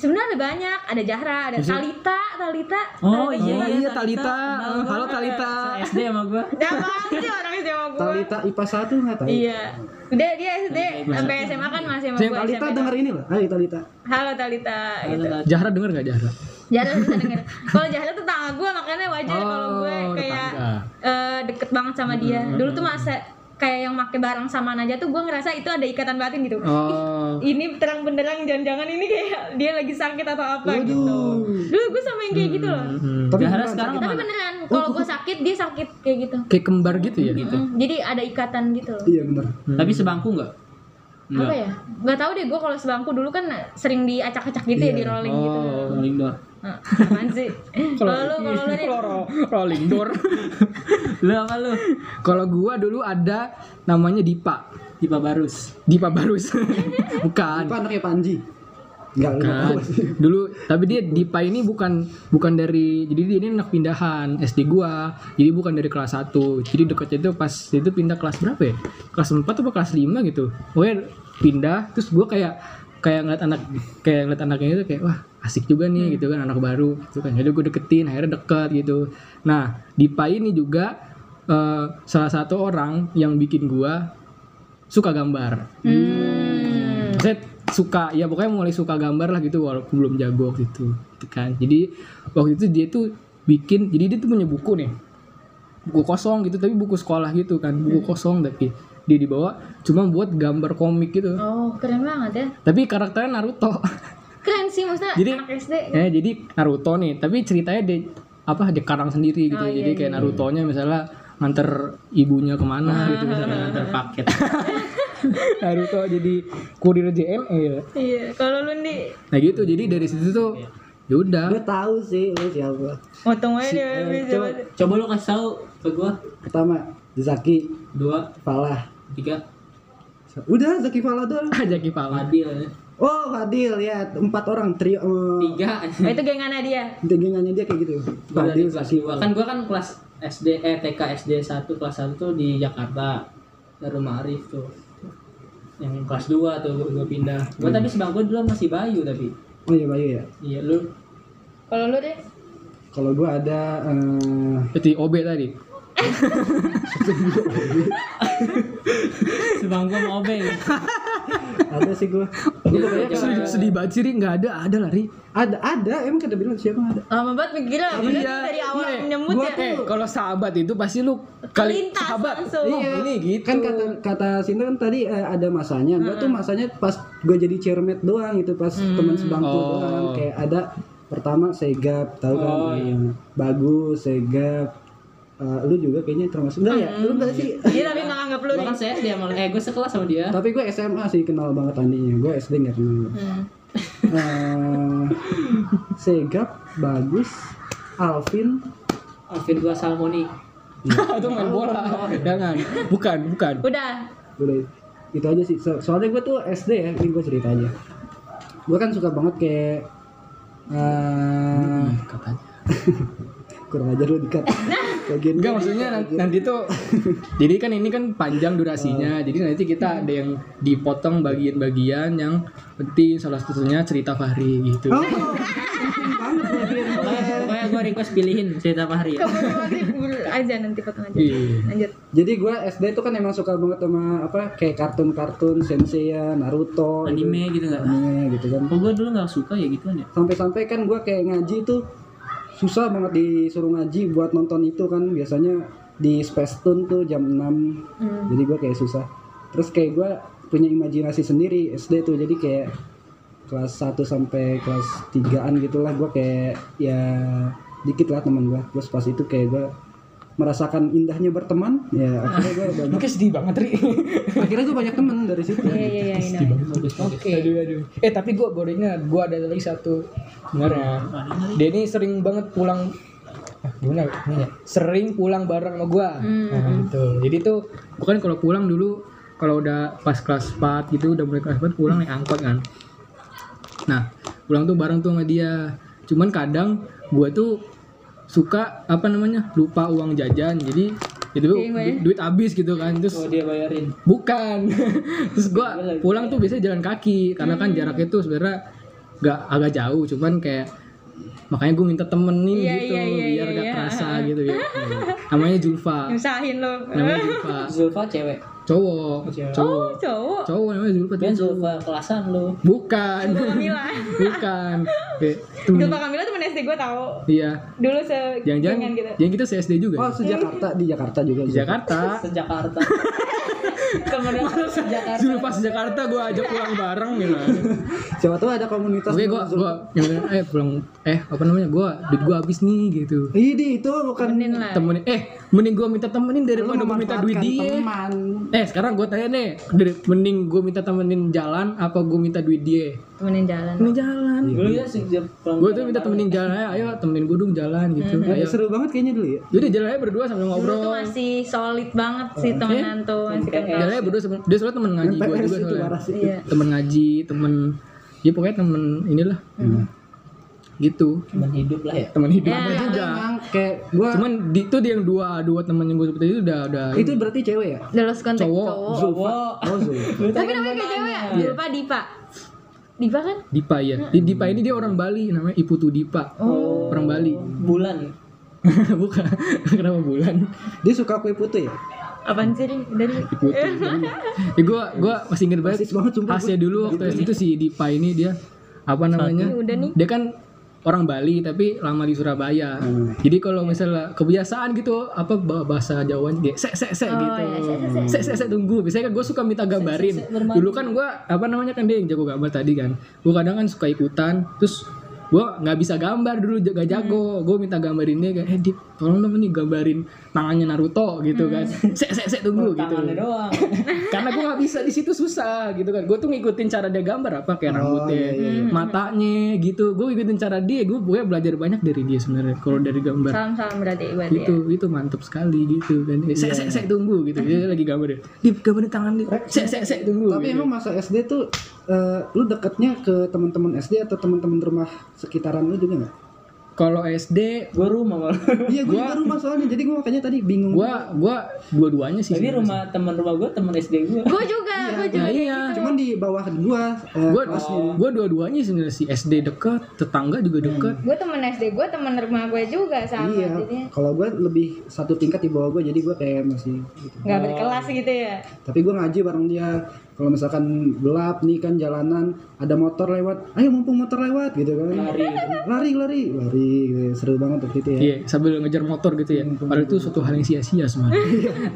Speaker 3: sebenarnya ada banyak ada Jahra ada Talita Talita
Speaker 2: Oh iya,
Speaker 1: Oh, iya, Talita. Eh, Halo, Talita.
Speaker 2: SD sama gua.
Speaker 3: Jangan sih orang SMA gue
Speaker 4: Talita IPA 1 nggak tahu
Speaker 3: Iya Udah dia SD sampai SMA kan masih sama
Speaker 1: Saya
Speaker 3: gue
Speaker 4: Talita denger ini loh ayo Talita
Speaker 3: Halo Talita
Speaker 2: Iya,
Speaker 3: gitu.
Speaker 1: Jahra denger gak
Speaker 3: Eh,
Speaker 1: Jahra?
Speaker 3: Jahra bisa denger Kalau Jahra tetangga gue makanya wajar kalau gue
Speaker 1: Oh,
Speaker 3: kayak
Speaker 1: tetangga.
Speaker 3: eh, deket banget sama dia Dulu tuh masa kayak yang make barang samaan aja tuh gue ngerasa itu ada ikatan batin gitu
Speaker 1: Oh,
Speaker 3: Ini terang benderang jangan-jangan ini kayak dia lagi sakit atau apa gitu Dulu gue sama yang kayak gitu loh
Speaker 1: Hmm.
Speaker 4: tapi
Speaker 2: Jahara
Speaker 4: beneran,
Speaker 2: sekarang
Speaker 3: Tapi
Speaker 2: kemana?
Speaker 3: beneran kalau gue sakit dia sakit kayak gitu
Speaker 1: kayak kembar Oh. gitu ya?
Speaker 3: Mm, Jadi ada ikatan gitu loh
Speaker 4: iya bener
Speaker 2: Tapi sebangku enggak?
Speaker 1: Iya.
Speaker 3: apa ya nggak tahu deh gue kalau sebangku dulu kan sering diacak-acak gitu
Speaker 1: Iya.
Speaker 3: ya di rolling gitu
Speaker 1: Oh.
Speaker 2: Rolling door.
Speaker 3: Nah, apaan sih kalau lu kalau lu nih
Speaker 1: Ro- Rolling door.
Speaker 2: Lu apa lu?
Speaker 1: Kalau gua dulu ada namanya Dipa.
Speaker 2: Tiba Barus.
Speaker 1: Dipa Barus. Bukan.
Speaker 4: apa anaknya Panji enggak lu nggak
Speaker 1: Bukan.
Speaker 4: tahu sih.
Speaker 1: Dulu tapi dia Dipa ini bukan bukan dari jadi dia ini anak pindahan SD gua. Jadi bukan dari kelas 1. Jadi dekatnya itu pas itu pindah kelas berapa ya? Kelas 4 atau kelas 5 gitu. Pokoknya pindah terus gua kayak kayak ngeliat anak kayak ngeliat anaknya itu kayak wah asik juga nih gitu kan anak baru gitu kan. Jadi gua deketin akhirnya deket gitu. Nah, Dipa ini juga eh, salah satu orang yang bikin gua suka gambar.
Speaker 3: hmm.
Speaker 1: Saya suka ya pokoknya mulai suka gambar lah gitu walaupun belum jago waktu itu gitu kan. Jadi waktu itu dia tuh bikin jadi dia tuh punya buku nih. Buku kosong gitu tapi buku sekolah gitu kan. Buku
Speaker 3: Hmm.
Speaker 1: kosong tapi dia dibawa cuma buat gambar komik gitu.
Speaker 3: Oh, keren banget ya.
Speaker 1: Tapi karakternya Naruto.
Speaker 3: Keren sih maksudnya
Speaker 1: Jadi-
Speaker 3: anak SD.
Speaker 1: ya jadi Naruto nih tapi ceritanya di apa di karang sendiri gitu
Speaker 3: Oh, iya,
Speaker 1: jadi kayak Naruto-nya misalnya nganter ibunya
Speaker 2: Nah,
Speaker 1: kemana gitu misalnya nganter paket Naruto jadi kurir JNE
Speaker 5: Iya, kalau lu nih
Speaker 1: nah gitu jadi dari situ tuh
Speaker 3: Iya.
Speaker 1: ya udah
Speaker 4: Gue tahu sih lu siapa.
Speaker 5: motong aja dia bisa
Speaker 2: coba, coba lu kasih tahu ke gua
Speaker 4: Pertama Zaki
Speaker 2: dua
Speaker 4: Falah.
Speaker 2: tiga
Speaker 4: Udah Zaki Falah doang.
Speaker 1: Jaki Pala
Speaker 2: adil ya.
Speaker 4: Oh Fadil ya empat orang trio eh,
Speaker 2: tiga
Speaker 3: Nah,
Speaker 5: Oh, itu gengan dia.
Speaker 4: gengangannya dia kayak gitu.
Speaker 2: gua dari
Speaker 4: Fadil
Speaker 2: kelas
Speaker 4: Zaki
Speaker 2: dua
Speaker 4: Falah.
Speaker 2: kan gua kan kelas SD eh TK SD 1 kelas 1 tuh di Jakarta dari rumah Arif tuh yang kelas 2 tuh gua, gua pindah gua tapi sebangku dulu masih Bayu tapi
Speaker 4: Oh iya Bayu ya.
Speaker 2: iya lu
Speaker 5: Kalau lu deh,
Speaker 4: Kalau gua ada eh,
Speaker 1: jadi OB tadi
Speaker 2: sebangku mau obeng kan
Speaker 4: ada sih gua. Gua pokoknya
Speaker 1: sedih, sedih banget sih Ri. nggak ada ada lah Ri
Speaker 4: ada ada emang kata bilang siapa nggak ada.
Speaker 5: lama banget mikirnya. Berarti dari awal
Speaker 1: iya.
Speaker 5: menyambut
Speaker 1: Gua
Speaker 5: ya.
Speaker 1: tuh- eh, kalau sahabat itu pasti lu kali
Speaker 5: Terlintas
Speaker 1: sahabat
Speaker 5: langsung.
Speaker 1: Oh, ini gitu
Speaker 4: Kan kata kata Sinta kan tadi eh, ada masanya. Gua tuh masanya pas gua jadi chairmate doang gitu pas teman sebangku
Speaker 1: Oh.
Speaker 4: doang kayak ada pertama Segap tahu kan.
Speaker 2: Oh, iya.
Speaker 4: Eh, Bagus Segap Eh, lu juga kayaknya termasuk enggak ya? Lu enggak
Speaker 3: Iya.
Speaker 4: sih?
Speaker 5: Dia Iya, tapi nggak anggap lu
Speaker 2: gua
Speaker 5: nih.
Speaker 2: kan saya dia eh gua sekelas sama dia
Speaker 4: Tapi gue SMA sih kenal banget Andinya. Gue SD nggak kenal.
Speaker 3: Mm. Hmm.
Speaker 4: Eh, Segap, bagus, Alvin,
Speaker 2: Alvin gua Salmoni
Speaker 1: itu main bola jangan bukan bukan
Speaker 5: Udah.
Speaker 4: udah itu aja sih. So- soalnya gue tuh SD ya, ini gue cerita aja. Gue kan suka banget kayak eh
Speaker 1: katanya
Speaker 4: kurang ajar lu dikat. Bagian
Speaker 1: Enggak maksudnya nan- nanti tuh jadi kan ini kan panjang durasinya. Jadi nanti kita ada yang dipotong bagian-bagian yang penting salah satunya cerita Fahri gitu.
Speaker 4: Oh, penting banget bagian.
Speaker 2: pokoknya pokoknya gua request pilihin cerita Fahri ya
Speaker 5: Keburu maghrib buru aja nanti potong aja.
Speaker 1: Iya.
Speaker 5: Lanjut.
Speaker 4: Jadi gue SD tuh kan emang suka banget sama apa kayak kartun-kartun Sensei ya, Naruto, gitu.
Speaker 2: anime gitu nggak
Speaker 4: anime gitu kan.
Speaker 2: kok gua dulu nggak suka ya gituan ya
Speaker 4: sampai-sampai kan gue kayak ngaji tuh susah banget disuruh ngaji buat nonton itu kan biasanya di Space Tune tuh jam 6 jadi gue kayak susah terus kayak gue punya imajinasi sendiri SD tuh jadi kayak kelas 1 sampai kelas 3an gitulah gue kayak ya dikit lah teman gue terus pas itu kayak gue merasakan indahnya berteman ya akhirnya gue banyak
Speaker 1: Mungkin sedih banget Ri.
Speaker 4: akhirnya gue banyak teman dari situ
Speaker 5: Iya iya iya. iya.
Speaker 2: bagus banget
Speaker 1: Oke. Aduh, aduh. Eh tapi gue bodohnya gue ada lagi satu sebenarnya. Dia ini sering banget pulang Ah, gimana ini ya? sering pulang bareng sama gue nah, gitu jadi tuh bukan kalau pulang dulu kalau udah pas kelas 4 gitu udah mulai kelas 4 pulang naik angkot kan nah pulang tuh bareng tuh sama dia cuman kadang gue tuh suka apa namanya lupa uang jajan jadi itu du- duit habis gitu kan terus
Speaker 2: oh dia bayarin
Speaker 1: Bukan. Terus gua pulang tuh biasanya jalan kaki karena
Speaker 5: Hmm.
Speaker 1: kan jaraknya tuh sebenarnya nggak agak jauh, cuman kayak makanya gue minta temenin
Speaker 5: Iya,
Speaker 1: gitu
Speaker 5: iya, iya,
Speaker 1: biar
Speaker 5: iya,
Speaker 1: gak
Speaker 5: iya.
Speaker 1: kerasa gitu ya. Namanya Julfa.
Speaker 5: Nyusahin lo.
Speaker 1: Namanya Julfa.
Speaker 2: Zulfa cewek
Speaker 1: Cowok.
Speaker 2: Cewek.
Speaker 1: Cowok.
Speaker 5: Oh, cowok.
Speaker 1: Cowok namanya Julfa.
Speaker 5: Oh,
Speaker 2: dia Zulfa kelasan lu
Speaker 1: Bukan.
Speaker 5: Kamila.
Speaker 1: Bukan. Oke,
Speaker 5: Itu
Speaker 1: temen-
Speaker 5: Pak Kamila temen SD gue tahu.
Speaker 1: Iya.
Speaker 5: Dulu se
Speaker 1: Jangan-jangan
Speaker 5: gengan gitu.
Speaker 1: jangan kita CSD
Speaker 4: oh
Speaker 1: juga.
Speaker 4: sejakarta di Jakarta juga
Speaker 1: Di Jakarta.
Speaker 2: sejakarta temennya sejakarta
Speaker 1: Julfa sejakarta gue ajak pulang bareng gitu.
Speaker 4: siapa tuh ada komunitas
Speaker 1: Oke, gue gue eh pulang eh apa namanya gue duit gue habis nih gitu.
Speaker 4: Ini itu bukan
Speaker 5: Temenin lah.
Speaker 1: temenin eh mending gue minta temenin daripada gue minta duit
Speaker 4: memanfaatkan
Speaker 1: dia
Speaker 4: teman
Speaker 1: eh sekarang gue tanya nih dari, mending gue minta temenin jalan apa gue minta duit dia
Speaker 5: Temenin jalan.
Speaker 1: temenin jalan
Speaker 4: Iya.
Speaker 2: dulu ya sejak pulang
Speaker 1: gue tuh minta temenin jalan "Eh, ayo, ayo temenin gue dong jalan gitu
Speaker 4: Eh,
Speaker 1: ayo
Speaker 4: seru banget kayaknya dulu ya
Speaker 1: jadi jalannya berdua sambil
Speaker 3: Dulu tuh
Speaker 1: ngobrol
Speaker 3: masih solid banget sih temenan tuh masih gitu, kenal.
Speaker 1: jalannya berdua sambil- dia soalnya temen ngaji gue
Speaker 4: MPRS
Speaker 1: juga
Speaker 4: Iya. itu
Speaker 1: soalnya
Speaker 4: parah sih
Speaker 5: Iya.
Speaker 1: temen ngaji temen ya pokoknya temen inilah
Speaker 4: Iya.
Speaker 1: gitu
Speaker 2: teman hidup lah ya
Speaker 1: temen hidup
Speaker 3: Ya,
Speaker 1: gue juga
Speaker 4: emang kayak gua
Speaker 1: cuman di, itu dia yang dua dua temen yang gue seperti itu udah udah
Speaker 4: itu berarti cewek ya
Speaker 3: Udah lost contact
Speaker 1: Cowok.
Speaker 3: cowok.
Speaker 2: Wow.
Speaker 4: oh Zul
Speaker 3: Tapi namanya kayak cewek ya? Dipa Dipa. Dipa kan?
Speaker 1: Dipa ya di Dipa ini dia orang Bali namanya Iputu Dipa
Speaker 4: Oh.
Speaker 1: orang Bali
Speaker 2: bulan
Speaker 1: bukan kenapa bulan
Speaker 4: dia suka kue putih ya
Speaker 5: Apaan sih Ri? Dari
Speaker 1: Ikutin. ya gue gue masih inget banget
Speaker 4: Persis Eh. banget sumpah. gitu ya.
Speaker 1: Asya dulu waktu SD itu si Dipa ini dia apa namanya?
Speaker 5: udah nih.
Speaker 1: Dia kan orang Bali tapi lama di Surabaya.
Speaker 4: Hmm.
Speaker 1: Jadi kalau misalnya kebiasaan gitu apa bah- bahasa Jawanya dia sek sek sek gitu. Sek sek sek tunggu. Biasanya kan gue suka minta gambarin. Dulu kan gue apa namanya kan dia yang jago gambar tadi kan. Gue kadang kan suka ikutan terus gue nggak bisa gambar dulu gak jago gue minta gambarin dia kayak eh Dip, tolong dong nih gambarin tangannya Naruto gitu kan sek sek sek tunggu gitu
Speaker 2: tangannya doang
Speaker 1: karena gue nggak bisa di situ susah gitu kan gue tuh ngikutin cara dia gambar apa kayak
Speaker 4: Oh,
Speaker 1: rambutnya
Speaker 4: iya, iya,
Speaker 1: matanya gitu gue ngikutin cara dia gue gue belajar banyak dari dia sebenarnya kalau dari gambar
Speaker 5: Salam salam berarti berarti ya.
Speaker 1: itu itu mantep sekali gitu kan Eh, sek sek
Speaker 4: Iya.
Speaker 1: sek tunggu gitu dia lagi gambar dia di gambarin tangan dia sek sek sek tunggu
Speaker 4: Tapi emang masa SD tuh eh, lu deketnya ke teman-teman SD atau teman-teman rumah sekitaran lu juga nggak?
Speaker 1: kalau SD
Speaker 2: gue rumah malah
Speaker 4: Iya, gue juga rumah soalnya. Jadi gue makanya tadi bingung.
Speaker 1: gue gue dua-duanya sih
Speaker 2: tapi
Speaker 1: sebenarnya.
Speaker 2: rumah teman rumah gue teman SD gue
Speaker 3: Gue juga, gue juga.
Speaker 1: nah, iya
Speaker 4: Cuman di bawah gua eh,
Speaker 1: gue
Speaker 4: kelasnya.
Speaker 1: gue dua-duanya sebenarnya sih SD deket tetangga juga deket
Speaker 3: Gue temen SD gue, temen rumah gue juga sama.
Speaker 4: Iya.
Speaker 3: Jadi
Speaker 4: Kalau gue lebih satu tingkat di bawah gue, jadi gue kayak masih. Gitu.
Speaker 5: Nggak berkelas gitu ya.
Speaker 4: Tapi gue ngaji bareng dia. Kalau misalkan gelap nih kan jalanan, ada motor lewat, ayo mumpung motor lewat gitu kan.
Speaker 2: hari
Speaker 4: Lari, lari, lari. gitu. Seru banget waktu itu ya.
Speaker 1: Iya, sambil ngejar motor gitu
Speaker 4: Iya,
Speaker 1: ya. Padahal itu suatu hal yang sia-sia sebenarnya.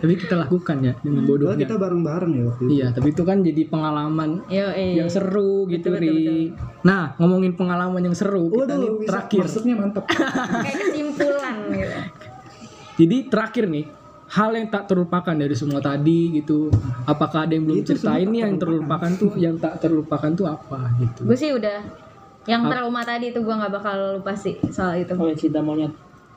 Speaker 1: tapi kita lakukan ya dengan
Speaker 4: Padahal
Speaker 1: bodohnya.
Speaker 4: kita bareng-bareng ya waktu itu.
Speaker 1: Iya, tapi itu kan jadi pengalaman
Speaker 5: Yo, eh.
Speaker 4: Iya.
Speaker 1: yang seru gitu, Ri. Nah, ngomongin pengalaman yang seru kita nih
Speaker 4: Waduh, bisa-
Speaker 1: terakhir.
Speaker 4: maksudnya mantap.
Speaker 3: kayak kesimpulan gitu.
Speaker 1: Jadi terakhir nih, hal yang tak terlupakan dari semua tadi gitu. Apakah ada yang belum
Speaker 4: Itu semua
Speaker 1: ceritain nih
Speaker 4: tak
Speaker 1: yang terlupakan tuh, yang tak terlupakan tuh apa gitu.
Speaker 3: Gue sih udah yang trauma tadi tuh gue nggak bakal lupa sih soal itu.
Speaker 2: kalau cinta monyet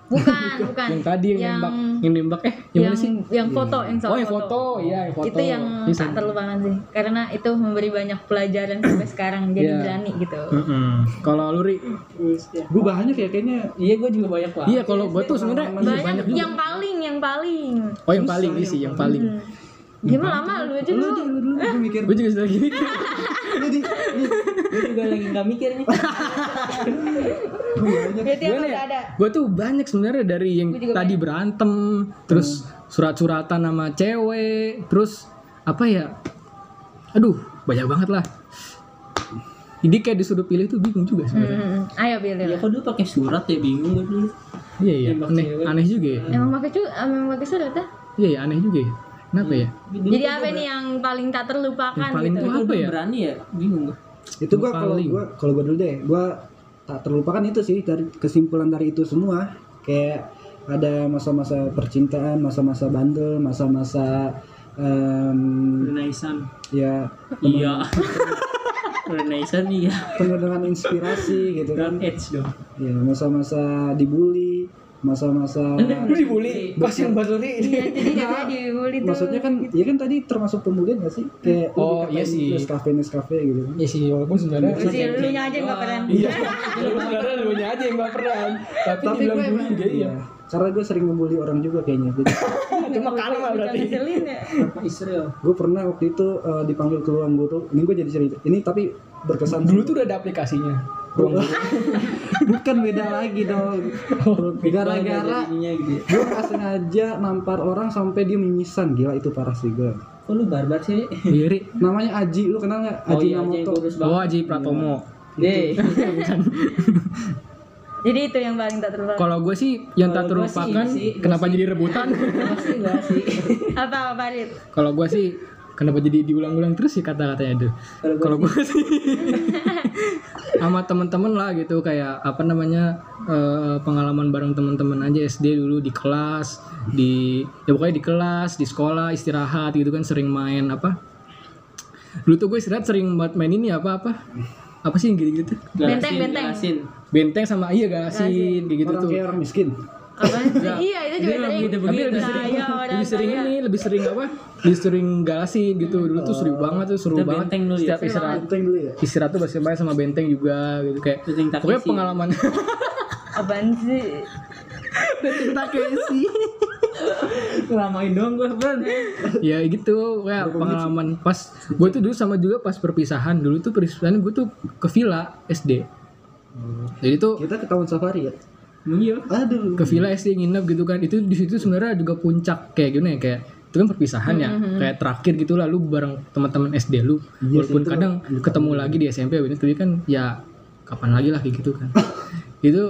Speaker 3: Bukan, bukan.
Speaker 1: Yang tadi yang, nembak, yang nembak eh yang,
Speaker 3: yang
Speaker 1: mana sih?
Speaker 3: yang foto, yang soal
Speaker 1: Oh, yang foto, iya, yang foto.
Speaker 3: Itu yang
Speaker 1: Bisa.
Speaker 3: tak terlupakan sih, karena itu memberi banyak pelajaran sampai sekarang jadi
Speaker 1: Iya.
Speaker 3: berani gitu.
Speaker 1: Mm-mm. Kalau lu Ri,
Speaker 2: ya.
Speaker 4: gue bahannya kayak kayaknya
Speaker 2: iya gue juga banyak lah
Speaker 1: iya kalau gue tuh sebenarnya iya,
Speaker 3: Banyak, yang paling, yang paling.
Speaker 1: Oh yang paling iya sih, yang paling.
Speaker 3: Gimana lama lu aja
Speaker 4: lu
Speaker 3: dulu.
Speaker 4: dulu dulu gue mikir
Speaker 1: Gue juga lagi mikir.
Speaker 4: jadi
Speaker 2: gue juga lagi nggak mikir nih
Speaker 5: Berarti apa nggak ada?
Speaker 1: Gue tuh banyak sebenarnya dari yang tadi berantem, terus surat-suratan sama cewek, terus apa ya? Aduh, banyak banget lah. Jadi kayak disuruh pilih tuh bingung juga sebenarnya.
Speaker 3: Hmm, ayo pilih.
Speaker 2: ya
Speaker 3: lah.
Speaker 2: kok dulu pakai surat ya bingung gue dulu
Speaker 1: Iya iya,
Speaker 2: Tembak
Speaker 1: aneh,
Speaker 2: cewek.
Speaker 1: aneh juga ya.
Speaker 3: Emang pakai cu, emang pakai surat ya?
Speaker 1: Iya iya, aneh juga ya. Kenapa ya?
Speaker 2: Hmm.
Speaker 3: Jadi apa nih yang paling tak terlupakan
Speaker 1: Yang paling
Speaker 3: gitu?
Speaker 1: tuh
Speaker 2: gue
Speaker 1: apa ya?
Speaker 2: berani ya bingung gue
Speaker 4: itu gue kalau
Speaker 1: Paling.
Speaker 4: gue kalau gue dulu deh gue tak terlupakan itu sih dari kesimpulan dari itu semua kayak ada masa-masa percintaan masa-masa bandel masa-masa em,
Speaker 2: Renaisan
Speaker 4: ya
Speaker 2: iya Renaisan iya
Speaker 4: penuh dengan inspirasi gitu kan
Speaker 2: dan edge dong
Speaker 4: ya masa-masa dibully masa-masa
Speaker 1: Nah, dibully, kasihan banget
Speaker 3: Iya, jadi jadi dibully tuh.
Speaker 4: maksudnya kan ya kan tadi termasuk pembulian gak sih kayak lu
Speaker 1: Oh,
Speaker 4: dikatain
Speaker 1: iya sih.
Speaker 4: Nescafe Nescafe gitu kan
Speaker 1: Iya sih, walaupun sebenarnya
Speaker 5: Si dulunya aja nggak pernah.
Speaker 1: Iya, sebenarnya lu aja yang gak pernah. Tapi,
Speaker 4: tapi gue emang iya. karena gue sering membuli orang juga kayaknya jadi
Speaker 1: Cuma karma berarti.
Speaker 5: Ngeselin ya.
Speaker 2: Apa Israel
Speaker 4: gue pernah waktu itu eh, dipanggil ke ruang guru ini gue jadi cerita ini tapi berkesan
Speaker 1: Dulu tuh udah ada aplikasinya. Ruang guru. Oh,
Speaker 4: bukan beda lagi dong gara-gara
Speaker 2: jadinya gitu ya
Speaker 4: gue pas sengaja nampar orang sampai dia mimisan gila itu parah sih gue
Speaker 2: kok lu barbar sih Eh,
Speaker 1: Iya, Ri.
Speaker 4: namanya Aji lu kenal nggak
Speaker 2: oh
Speaker 4: Aji
Speaker 2: iya aja yang
Speaker 4: Namoto
Speaker 2: kurus
Speaker 1: Oh,
Speaker 2: banget
Speaker 1: Haji Pratomo.
Speaker 2: deh
Speaker 5: Jadi itu yang paling tak terlupakan.
Speaker 1: Kalau gue sih yang tak
Speaker 2: Kalau gua sih
Speaker 1: terlupakan,
Speaker 2: ini sih, gua
Speaker 1: kenapa jadi rebutan?
Speaker 2: pasti gak sih
Speaker 5: Apa apa Rit?
Speaker 1: Kalau gue sih kenapa jadi diulang-ulang terus sih kata-katanya itu.
Speaker 2: Kalau gua
Speaker 1: Kalau gue sih sama teman-teman lah gitu kayak apa namanya eh, pengalaman bareng teman-teman aja SD dulu di kelas di ya pokoknya di kelas di sekolah istirahat gitu kan sering main apa dulu tuh gue istirahat sering buat main ini apa apa apa sih yang gitu-gitu
Speaker 3: Benteng,
Speaker 2: Galasin,
Speaker 3: benteng.
Speaker 2: galasin.
Speaker 1: benteng sama iya galasin kayak gitu
Speaker 4: orang
Speaker 1: tuh
Speaker 4: kayak orang miskin
Speaker 3: Apa? iya, itu juga
Speaker 2: Dia
Speaker 3: sering.
Speaker 2: begitu
Speaker 1: tapi
Speaker 2: begitu
Speaker 1: lebih sering
Speaker 3: Nah, ya, orang
Speaker 1: lebih sering
Speaker 3: kaya.
Speaker 1: ini lebih sering apa lebih sering galasin gitu dulu tuh seru banget tuh seru
Speaker 2: Kita
Speaker 1: banget
Speaker 2: Oh. benteng dulu ya.
Speaker 1: setiap istirahat
Speaker 4: itu yang dulu ya
Speaker 1: istirahat tuh basket sama benteng juga gitu kayak
Speaker 2: Benteng Takeshi.
Speaker 1: pokoknya pengalaman
Speaker 5: Apaan sih?
Speaker 1: benteng Takeshi
Speaker 2: lamain doang gue ben
Speaker 1: ya gitu kayak pengalaman pas gue tuh dulu sama juga pas perpisahan dulu tuh perpisahan gue tuh ke villa SD
Speaker 2: Hmm.
Speaker 1: jadi tuh
Speaker 4: kita ke taman safari ya
Speaker 2: iya
Speaker 4: aduh
Speaker 1: ke villa SD nginep gitu kan itu di situ sebenarnya juga puncak kayak gimana ya kayak itu kan perpisahan ya kayak terakhir gitulah lu bareng teman-teman SD lu
Speaker 4: Iya sih,
Speaker 1: walaupun
Speaker 4: itu
Speaker 1: kadang ketemu lagi di SMP abis itu tapi kan ya kapan lagi lah kayak gitu kan itu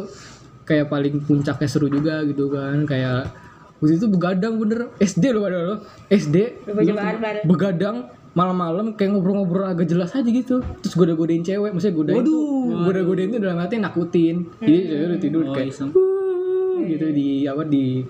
Speaker 1: kayak paling puncaknya seru juga gitu kan kayak waktu itu begadang bener SD lo padahal lo SD
Speaker 3: Baju
Speaker 1: Lu-
Speaker 3: barbar.
Speaker 1: begadang malam-malam kayak ngobrol-ngobrol agak jelas aja gitu terus goda-godain cewek maksudnya godain tuh goda-godain tuh dalam arti nakutin jadi cewek udah tidur
Speaker 2: Oh,
Speaker 1: kayak
Speaker 2: iseng.
Speaker 1: "Wuh," gitu di apa di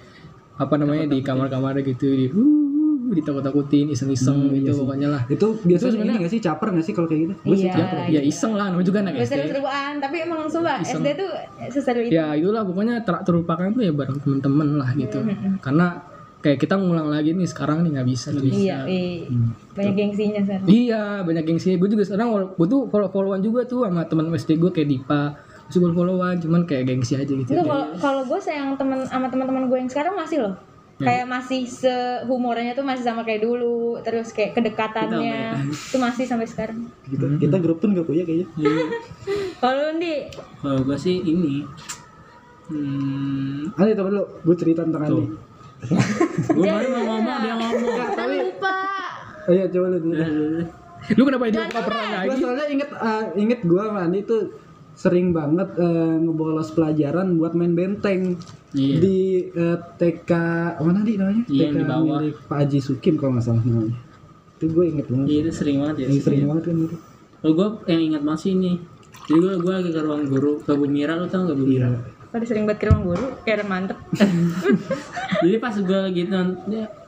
Speaker 1: apa namanya di kamar-kamar gitu di "Wuh," ditakut-takutin iseng-iseng gitu pokoknya lah
Speaker 4: Itu biasanya
Speaker 1: sebenarnya-
Speaker 4: ini nggak sih caper nggak sih kalau kayak gitu?
Speaker 2: Hmm.
Speaker 3: Iya.
Speaker 1: ya iseng lah namanya juga anak
Speaker 3: Gue
Speaker 1: SD
Speaker 3: seru-seruan, tapi emang sumpah
Speaker 1: Iseng.
Speaker 3: SD tuh seseru itu.
Speaker 1: ya itulah pokoknya tak terlupakan tuh ya bareng temen-temen lah gitu karena kayak kita ngulang lagi nih sekarang nih nggak bisa tuh.
Speaker 3: Iya, iya. Banyak gengsinya sekarang.
Speaker 1: Iya, banyak gengsi. Gue juga sekarang wal- gue tuh follow-followan juga tuh sama teman SD gue kayak Dipa. Terus gue followan, cuman kayak gengsi aja gitu.
Speaker 3: Enggak, kalau kalau gue sayang teman sama teman-teman gue yang sekarang masih loh. Kayak masih sehumornya tuh masih sama kayak dulu, terus kayak kedekatannya itu masih sampai sekarang.
Speaker 4: Gitu. Kita grup pun nggak punya kayaknya.
Speaker 2: Iya.
Speaker 3: Kalau lu, Ndi,
Speaker 2: Kalau gua sih ini. Hmm,
Speaker 4: Ani temen lu, gue cerita tentang Ani.
Speaker 2: Tuh. gua baru mau ngomong dia ngomong.
Speaker 6: Kita lupa.
Speaker 4: Ayo Oh iya, coba lu dulu.
Speaker 2: Iya.
Speaker 1: Lu kenapa dia lupa pernah
Speaker 4: Gue
Speaker 1: lagi?
Speaker 4: soalnya inget eh, inget gue sama Ani tuh sering banget eh, ngebolos pelajaran buat main benteng
Speaker 2: Iya.
Speaker 4: di eh, TK mana di namanya?
Speaker 2: Iya, yang
Speaker 4: TK
Speaker 2: di bawah.
Speaker 4: milik Pak Haji Sukim kalau nggak salah namanya. Itu gue inget banget.
Speaker 2: Iya, itu sering banget ya.
Speaker 4: Ini sering banget kan itu.
Speaker 2: Kalau gua yang ingat masih ini. Jadi gua, gua lagi ke ruang guru, ke Bu Mira lu tau gak Bu Mira?
Speaker 3: pada sering banget ke ruang guru, kayak ada mantep.
Speaker 2: Jadi pas gua lagi nonton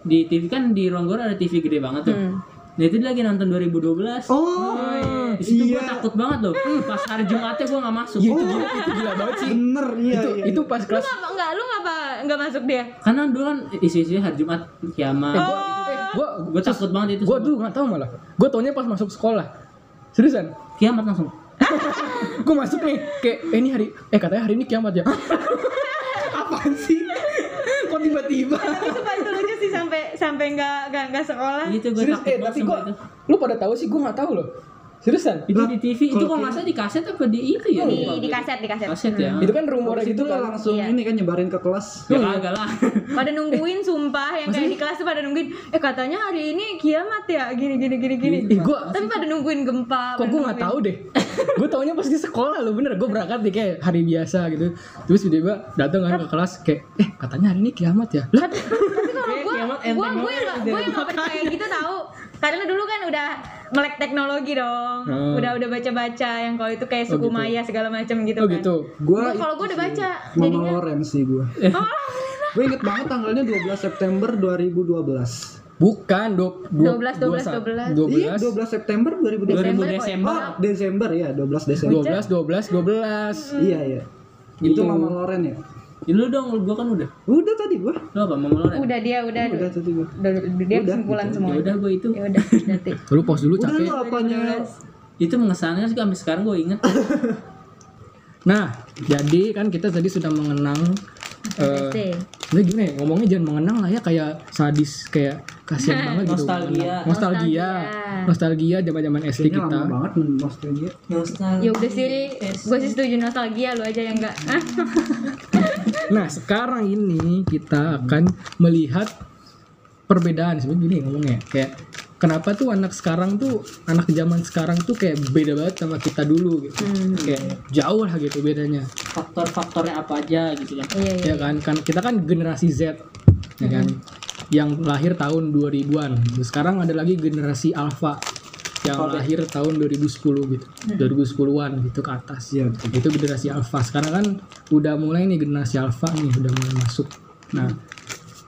Speaker 2: di TV kan di ruang guru ada TV gede banget tuh.
Speaker 3: Hmm.
Speaker 2: Nah itu dia lagi nonton 2012.
Speaker 4: Oh,
Speaker 2: Di situ
Speaker 4: iya.
Speaker 2: gua takut banget loh. Pas hari Jumatnya gua gak masuk.
Speaker 1: Iya, itu gila, itu gila banget sih.
Speaker 4: Bener, iya,
Speaker 1: Itu
Speaker 4: iya.
Speaker 1: itu pas kelas
Speaker 3: Apa enggak lu ngapa enggak masuk dia?
Speaker 2: Karena dulu kan isi-isinya hari Jumat kiamat.
Speaker 1: Eh, gua
Speaker 2: Gue takut banget itu.
Speaker 1: gua
Speaker 2: semua.
Speaker 1: tuh nggak tahu malah. Gua taunya pas masuk sekolah. Seriusan?
Speaker 2: kiamat langsung.
Speaker 1: Gua masuk nih kayak eh, ini hari eh katanya hari ini kiamat ya. Apaan sih? Kok tiba-tiba?
Speaker 3: Sumpah itu lucu sih sampai sampai enggak enggak enggak sekolah.
Speaker 2: Itu gue
Speaker 1: Serius,
Speaker 2: Gitu,
Speaker 1: eh
Speaker 2: takut banget
Speaker 1: tapi
Speaker 2: sama
Speaker 1: gua
Speaker 2: itu.
Speaker 1: lu pada tahu sih gua nggak tahu loh. Seriusan?
Speaker 2: Itu di TV, itu kalau nggak salah di kaset apa di itu ya?
Speaker 3: Di,
Speaker 2: Lupa
Speaker 3: di
Speaker 2: gua.
Speaker 3: kaset, di kaset.
Speaker 2: Kaset ya.
Speaker 1: Itu kan rumornya
Speaker 4: Habis itu
Speaker 1: gitu
Speaker 4: lo
Speaker 1: kan.
Speaker 4: langsung ini kan nyebarin ke kelas.
Speaker 2: Ya kagak lah.
Speaker 3: Pada nungguin sumpah yang kayak di kelas tuh pada nungguin, eh katanya hari ini kiamat ya, gini gini gini gini.
Speaker 1: Ih, gua
Speaker 3: Tapi pada nungguin gempa.
Speaker 1: kok
Speaker 3: pada
Speaker 1: gue nggak tahu deh gue taunya pas di sekolah lo bener gue berangkat nih kayak hari biasa gitu terus tiba-tiba datang kan ke kelas kayak eh katanya hari ini kiamat ya lah
Speaker 3: Tapi kalau gue, gue gue yang gak- gue yang gak percaya gitu tahu. Karena dulu kan udah melek teknologi dong,
Speaker 1: Hmm.
Speaker 3: udah udah baca-baca yang kalau itu kayak suku
Speaker 1: gitu.
Speaker 3: Maya segala macam gitu
Speaker 1: oh
Speaker 3: kan.
Speaker 1: gitu
Speaker 4: Gue
Speaker 3: Gua- kalau gue udah baca, Oh,
Speaker 4: Mama
Speaker 3: jadinya
Speaker 4: Lorenz sih gue.
Speaker 1: Eh.
Speaker 4: gue inget banget tanggalnya 12 September 2012.
Speaker 1: bukan do,
Speaker 3: 12, 12, 12.
Speaker 4: Iya,
Speaker 1: 12
Speaker 4: 12 September 2012.
Speaker 2: 2000
Speaker 3: kok.
Speaker 2: Desember.
Speaker 4: Oh, Desember ya, 12 Desember.
Speaker 1: 12 12 12
Speaker 4: Iya, iya.
Speaker 1: Gitu.
Speaker 4: Itu Mama Loren ya.
Speaker 2: Ya lu dong, lu- gua kan udah.
Speaker 4: Udah tadi gue.
Speaker 2: Lu apa, Mama Loren?
Speaker 3: udah dia udah
Speaker 4: Udah tadi gue.
Speaker 3: udah, udah dia kesimpulan
Speaker 1: gitu.
Speaker 3: semua.
Speaker 2: Ya udah gua itu.
Speaker 3: Ya udah, nanti.
Speaker 1: lu pause dulu
Speaker 4: Udah
Speaker 1: capek
Speaker 4: lu apanya?
Speaker 2: Itu mengesannya sih sampai sekarang gua inget.
Speaker 1: nah jadi kan kita tadi sudah mengenang eh
Speaker 3: Sih.
Speaker 1: sebenarnya gimana ya ngomongnya jangan mengenang lah ya kayak sadis kayak kasihan banget gitu
Speaker 2: Nostalgia.
Speaker 1: mengenang. nostalgia nostalgia zaman zaman SD
Speaker 4: Kayaknya
Speaker 1: kita
Speaker 4: lama banget maksudnya dia.
Speaker 3: Ya udah sih, Ri. gue sih setuju nostalgia lu aja yang enggak.
Speaker 1: Nah, sekarang ini kita akan melihat perbedaan sebenarnya gini ngomongnya kayak kenapa tuh anak sekarang tuh anak zaman sekarang tuh kayak beda banget sama kita dulu gitu. Kayak jauh lah gitu bedanya.
Speaker 2: Faktor-faktornya apa aja gitu kan.
Speaker 3: Iya iya.
Speaker 1: Ya kan? Kan kita kan generasi Z ya kan yang lahir tahun 2000-an. Sekarang ada lagi generasi Alpha yang lahir tahun 2010 gitu. 2010-an gitu ke atas.
Speaker 4: Iya, betul.
Speaker 1: itu generasi Alpha. Sekarang kan udah mulai nih generasi Alpha nih udah mulai masuk. Nah,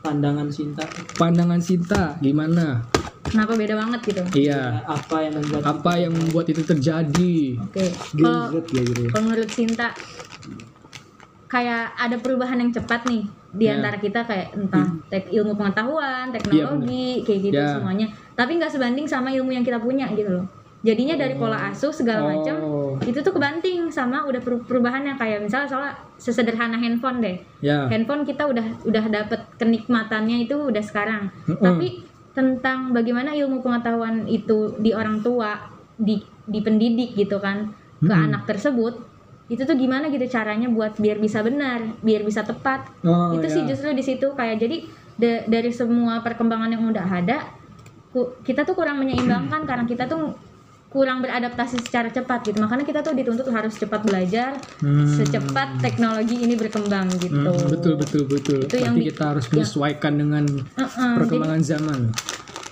Speaker 2: Pandangan cinta.
Speaker 1: pandangan cinta gimana?
Speaker 3: Kenapa beda banget gitu?
Speaker 1: Iya.
Speaker 2: Apa yang membuat
Speaker 1: Apa yang membuat itu terjadi?
Speaker 3: Oke.
Speaker 4: Gen
Speaker 3: Kalau
Speaker 4: Z ya gitu. ya.
Speaker 3: kalau menurut Sinta kayak ada perubahan yang cepat nih di
Speaker 1: Ya.
Speaker 3: antara kita kayak entah
Speaker 4: Hmm.
Speaker 3: tek ilmu
Speaker 4: Iya,
Speaker 3: pengetahuan, teknologi, kayak gitu
Speaker 1: Ya.
Speaker 3: semuanya. Tapi nggak sebanding sama ilmu yang kita punya gitu loh. Jadinya dari pola asuh segala
Speaker 1: Oh.
Speaker 3: macam itu tuh kebanting sama udah peru- perubahan yang kayak misalnya soalnya sesederhana handphone deh.
Speaker 1: Ya.
Speaker 3: handphone kita udah udah dapet kenikmatannya itu udah sekarang
Speaker 1: Mm-mm.
Speaker 3: tapi tentang bagaimana ilmu pengetahuan itu di orang tua di di pendidik gitu kan ke
Speaker 1: Mm-mm.
Speaker 3: anak tersebut itu tuh gimana gitu caranya buat biar bisa benar biar bisa tepat
Speaker 1: Oh,
Speaker 3: itu
Speaker 1: ya.
Speaker 3: sih justru di situ kayak jadi da- dari semua perkembangan yang udah ada ku- kita tuh kurang menyeimbangkan karena kita tuh kurang beradaptasi secara cepat gitu makanya kita tuh dituntut harus cepat belajar
Speaker 1: Hmm.
Speaker 3: secepat teknologi ini berkembang gitu
Speaker 1: Hmm, betul betul betul.
Speaker 3: Itu
Speaker 1: Berarti
Speaker 3: yang di- ya.
Speaker 1: kita harus menyesuaikan dengan
Speaker 3: Uh-uh, jadi
Speaker 1: perkembangan zaman.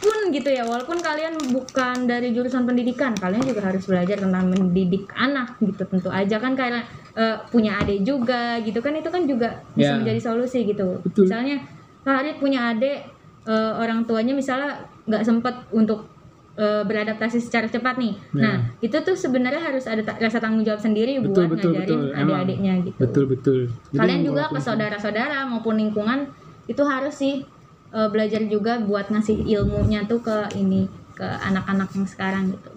Speaker 3: pun gitu ya walaupun kalian bukan dari jurusan pendidikan kalian juga harus belajar tentang mendidik anak gitu tentu aja kan kalian eh, punya adik juga gitu kan itu kan juga
Speaker 1: Ya.
Speaker 3: bisa menjadi solusi gitu
Speaker 1: Betul.
Speaker 3: misalnya Pak Harit punya adik eh, orang tuanya misalnya nggak sempet untuk eh, beradaptasi secara cepat nih
Speaker 1: Ya.
Speaker 3: nah itu tuh sebenarnya harus ada ta- rasa tanggung jawab sendiri
Speaker 1: Betul,
Speaker 3: buat
Speaker 1: betul,
Speaker 3: ngajarin
Speaker 1: betul. Emang.
Speaker 3: adik-adiknya gitu
Speaker 1: Betul betul. Jadi
Speaker 3: kalian juga
Speaker 1: walaupun-
Speaker 3: ke saudara-saudara maupun lingkungan itu harus sih eh, belajar juga buat ngasih ilmunya tuh ke ini ke anak-anak yang sekarang gitu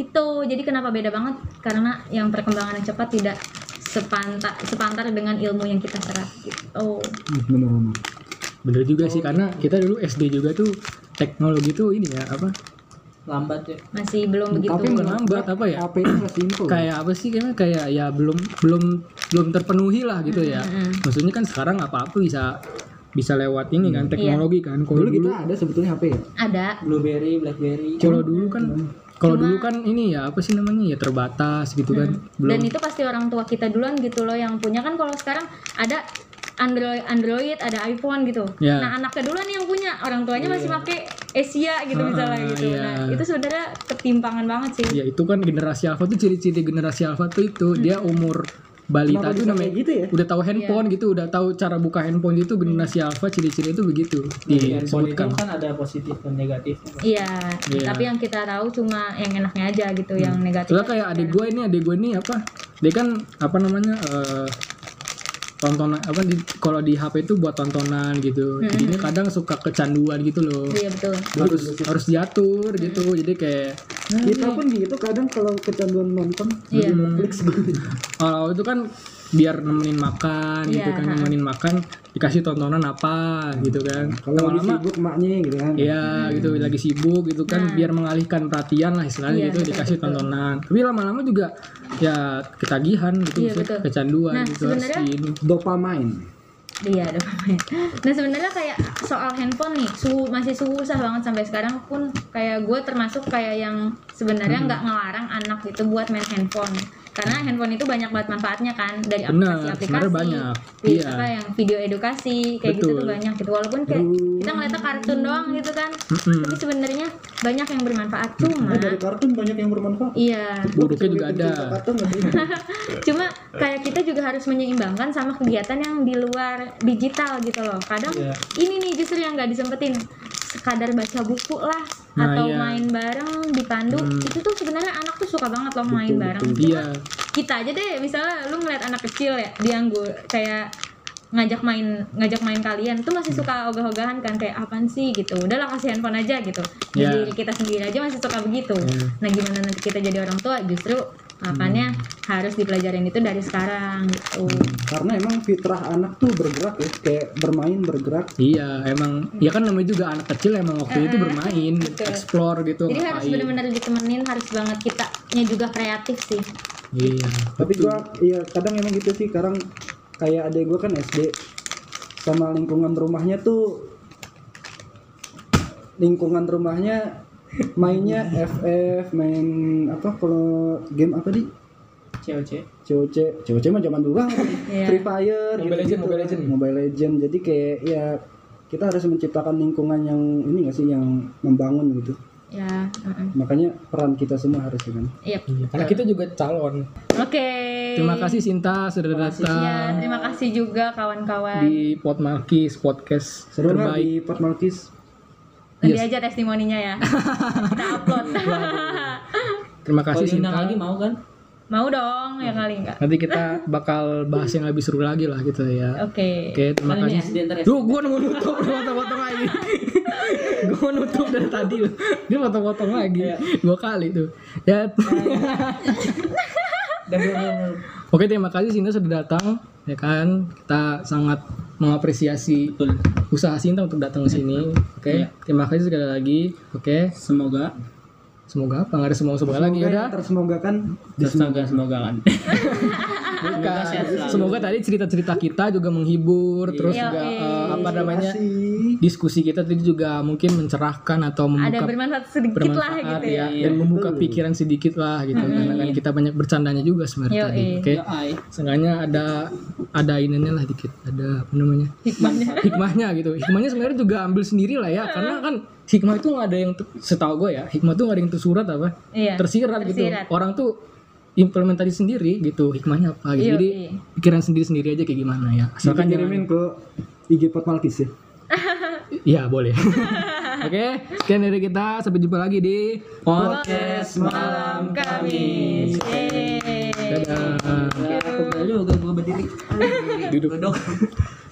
Speaker 3: gitu jadi kenapa beda banget karena yang perkembangan yang cepat tidak sepantar sepantar dengan ilmu yang kita serap gitu oh
Speaker 4: Hmm, bener bener.
Speaker 1: Bener juga sih karena kita dulu SD juga tuh teknologi tuh ini ya apa?
Speaker 2: lambat ya
Speaker 3: masih belum begitu
Speaker 1: Tapi bukan lambat apa ya?
Speaker 4: HP itu nggak simple.
Speaker 1: kayak apa sih kayaknya kayak ya belum belum belum terpenuhi lah gitu
Speaker 3: Hmm,
Speaker 1: ya maksudnya kan sekarang apa apa bisa bisa lewat ini kan teknologi kan kalau
Speaker 4: Hmm. Iya. dulu gitu
Speaker 1: dulu
Speaker 4: kita ada sebetulnya HP ya.
Speaker 3: ada
Speaker 2: blueberry blackberry
Speaker 1: kalau dulu kan kalau dulu kan ini ya apa sih namanya ya terbatas gitu kan
Speaker 3: Hmm.
Speaker 1: belum
Speaker 3: dan itu pasti orang tua kita duluan gitu loh yang punya kan kalau sekarang ada Android Android ada iPhone gitu.
Speaker 1: Ya.
Speaker 3: Nah anaknya duluan yang punya orang tuanya masih pakai Asia gitu
Speaker 1: Ah,
Speaker 3: misalnya gitu. Nah
Speaker 1: iya.
Speaker 3: itu sebenarnya ketimpangan banget sih.
Speaker 1: ya itu kan generasi alfa tuh ciri-ciri generasi alfa tuh itu dia umur balita
Speaker 4: Kenapa
Speaker 1: tuh
Speaker 4: bisa
Speaker 1: namanya
Speaker 4: kayak gitu ya?
Speaker 1: udah tahu handphone gitu udah tahu cara buka handphone itu generasi alfa ciri-ciri itu begitu Iya.
Speaker 4: Iya.
Speaker 2: Di handphone itu
Speaker 1: disebutkan
Speaker 2: kan ada positif dan negatifnya
Speaker 3: Iya.
Speaker 1: Iya. Hmm.
Speaker 3: Tapi yang kita tahu cuma yang enaknya aja gitu, yang negatif.
Speaker 1: Soalnya kayak adik gue ini, adik gue ini apa? Dia kan apa namanya? eh tontonan apa di kalau di HP itu buat tontonan gitu. Jadinya kadang suka kecanduan gitu loh.
Speaker 3: Iya betul.
Speaker 1: Harus harus diatur gitu. Jadi kayak
Speaker 4: Kita pun gitu kadang kalau kecanduan nonton
Speaker 3: Iya.
Speaker 1: Hmm.
Speaker 4: di Netflix banget.
Speaker 1: kalau itu kan biar nemenin makan gitu
Speaker 3: Iya,
Speaker 1: kan,
Speaker 3: ha.
Speaker 1: nemenin makan dikasih tontonan apa gitu kan.
Speaker 4: Nah, Kalau lagi
Speaker 1: Lama-lama
Speaker 4: sibuk emaknya gitu kan.
Speaker 1: Iya gitu lagi sibuk gitu
Speaker 3: Nah.
Speaker 1: kan biar mengalihkan perhatian lah
Speaker 3: Iya,
Speaker 1: istilahnya gitu dikasih tontonan. Tapi lama-lama juga ya ketagihan gitu
Speaker 3: Iya,
Speaker 1: maksudnya
Speaker 3: betul.
Speaker 1: kecanduan
Speaker 3: Nah,
Speaker 1: gitu harus
Speaker 3: sebenarnya-
Speaker 1: diini.
Speaker 4: Dopamine.
Speaker 3: Iya ada pokoknya. Nah sebenarnya kayak soal handphone nih, su masih susah banget sampai sekarang pun kayak gue termasuk kayak yang
Speaker 1: Hmm.
Speaker 3: sebenarnya nggak ngelarang anak itu buat main handphone. Karena handphone itu banyak banget manfaatnya kan dari
Speaker 1: Benar,
Speaker 3: aplikasi-aplikasi,
Speaker 1: sebenarnya banyak.
Speaker 3: di-
Speaker 1: Iya.
Speaker 3: apa yang video edukasi kayak gitu
Speaker 1: Betul.
Speaker 3: tuh banyak gitu. Walaupun kayak kita ngeliatnya kartun doang gitu kan,
Speaker 1: Mm-mm.
Speaker 3: tapi sebenarnya banyak yang bermanfaat cuma.
Speaker 4: Nah, dari kartun banyak yang bermanfaat.
Speaker 3: Iya,
Speaker 1: buruknya juga ada
Speaker 4: Kartun nggak sih?
Speaker 3: cuma kayak kita juga harus menyeimbangkan sama kegiatan yang di luar digital gitu loh kadang
Speaker 2: Iya.
Speaker 3: ini nih justru yang nggak disempetin sekadar baca buku lah
Speaker 1: Nah,
Speaker 3: atau
Speaker 1: iya. Hmm.
Speaker 3: main bareng dipandu itu tuh sebenarnya anak tuh suka banget loh main bareng
Speaker 1: iya
Speaker 3: kita aja deh misalnya lu ngeliat anak kecil ya dianggur kayak ngajak main ngajak main kalian tuh masih suka ogah-ogahan kan kayak apaan sih gitu udahlah kasih handphone aja gitu Di
Speaker 1: Ya.
Speaker 3: diri kita sendiri aja masih suka begitu
Speaker 1: Iya.
Speaker 3: nah gimana nanti kita jadi orang tua justru
Speaker 1: Hmm.
Speaker 3: makanya harus dipelajarin itu dari sekarang gitu
Speaker 4: Karena emang fitrah anak tuh bergerak ya, kayak bermain bergerak.
Speaker 1: iya emang ya kan namanya juga anak kecil emang waktu itu bermain explore gitu
Speaker 3: Eh, jadi harus
Speaker 1: ngapain.
Speaker 3: benar-benar ditemenin harus banget kitanya juga kreatif sih
Speaker 1: iya
Speaker 4: Tapi gua iya kadang emang gitu sih, kadang kayak adek gua kan SD sama lingkungan rumahnya tuh lingkungan rumahnya mainnya FF, main apa kalau game apa di?
Speaker 2: COC
Speaker 4: COC, COC mah zaman dulu banget.
Speaker 3: Iya.
Speaker 4: Free Fire,
Speaker 1: Mobile
Speaker 4: gitu-gitu.
Speaker 1: Legend, Mobile Legend.
Speaker 4: Mobile Legend. Jadi kayak ya kita harus menciptakan lingkungan yang ini nggak sih yang membangun gitu.
Speaker 3: ya heeh.
Speaker 4: Makanya peran kita semua harus ya kan.
Speaker 3: Yep.
Speaker 1: Iya, karena kita juga calon
Speaker 3: oke
Speaker 1: Hmm. terima kasih Sinta sudah
Speaker 3: Ya,
Speaker 1: datang
Speaker 3: terima kasih juga kawan-kawan
Speaker 1: di Podmalkis podcast
Speaker 4: Seru nggak
Speaker 1: terbaik
Speaker 4: di Port Malkis?
Speaker 3: nanti aja testimoninya ya kita upload
Speaker 1: terima
Speaker 2: kalau
Speaker 1: kasih
Speaker 2: diundang
Speaker 1: Sinta
Speaker 2: lagi mau kan
Speaker 3: mau dong ya kali enggak
Speaker 1: nanti kita bakal bahas yang lebih seru lagi lah gitu ya
Speaker 3: oke
Speaker 1: Oke, terima
Speaker 2: Kan ini
Speaker 1: kasih.
Speaker 2: SD ntar ya.
Speaker 1: Duh, gua mau nutup, lu potong-potong lagi. gua mau nutup dari tadi lu. Dia potong-potong lagi.
Speaker 2: Iya.
Speaker 1: Dua kali tuh. Ya. Kan
Speaker 2: dan belum
Speaker 1: Oke, terima kasih Sinta sudah datang. Ya kan, kita sangat mengapresiasi
Speaker 2: betul
Speaker 1: usaha Sinta untuk datang ke sini. Oke,
Speaker 2: Iya.
Speaker 1: terima kasih sekali lagi. Oke,
Speaker 2: semoga ya.
Speaker 1: semoga apa nggak ada semua semoga lagi
Speaker 4: Semoga
Speaker 1: Ya udah.
Speaker 4: yang tersemoga kan
Speaker 2: semoga semoga kan
Speaker 1: Bukan.
Speaker 2: sehat selalu.
Speaker 1: Semoga tadi cerita-cerita kita juga menghibur, terus
Speaker 3: Iya,
Speaker 1: juga
Speaker 3: oke.
Speaker 1: eh, apa namanya
Speaker 4: Kasih.
Speaker 1: diskusi kita tadi juga mungkin mencerahkan atau
Speaker 3: ada
Speaker 1: membuka
Speaker 3: bermanfaat sedikit lah
Speaker 1: bermanfaat
Speaker 3: gitu
Speaker 1: ya,
Speaker 3: ya.
Speaker 2: Iya,
Speaker 1: dan membuka
Speaker 4: betul.
Speaker 1: pikiran sedikit lah gitu karena kan kita banyak bercandanya juga sebenarnya
Speaker 3: Yo,
Speaker 1: tadi
Speaker 3: iya.
Speaker 1: oke
Speaker 2: Ya, ay.
Speaker 1: seenggaknya ada ada ininya lah dikit ada apa namanya
Speaker 2: Hikmahnya.
Speaker 1: hikmahnya gitu hikmahnya sebenarnya juga ambil sendiri lah ya karena kan hikmah itu nggak ada yang ter- setahu gue ya hikmah tuh nggak ada yang tersurat apa
Speaker 3: Iya.
Speaker 1: tersirat, gitu
Speaker 3: tersirat.
Speaker 1: orang tuh implementasi sendiri gitu hikmahnya apa gitu
Speaker 3: Iya,
Speaker 1: jadi
Speaker 3: iya.
Speaker 1: pikiran sendiri sendiri aja kayak gimana ya
Speaker 4: Silahkan
Speaker 1: asalkan jangan
Speaker 4: kirimin ke IG Pot Malkis ya.
Speaker 1: Iya boleh. Oke, sekian dari kita. Sampai jumpa lagi di podcast malam
Speaker 3: Kamis. Yeay.
Speaker 1: Dadah.
Speaker 2: Ya, Nah, aku beli juga gue berdiri.
Speaker 1: Duduk.
Speaker 2: Duduk.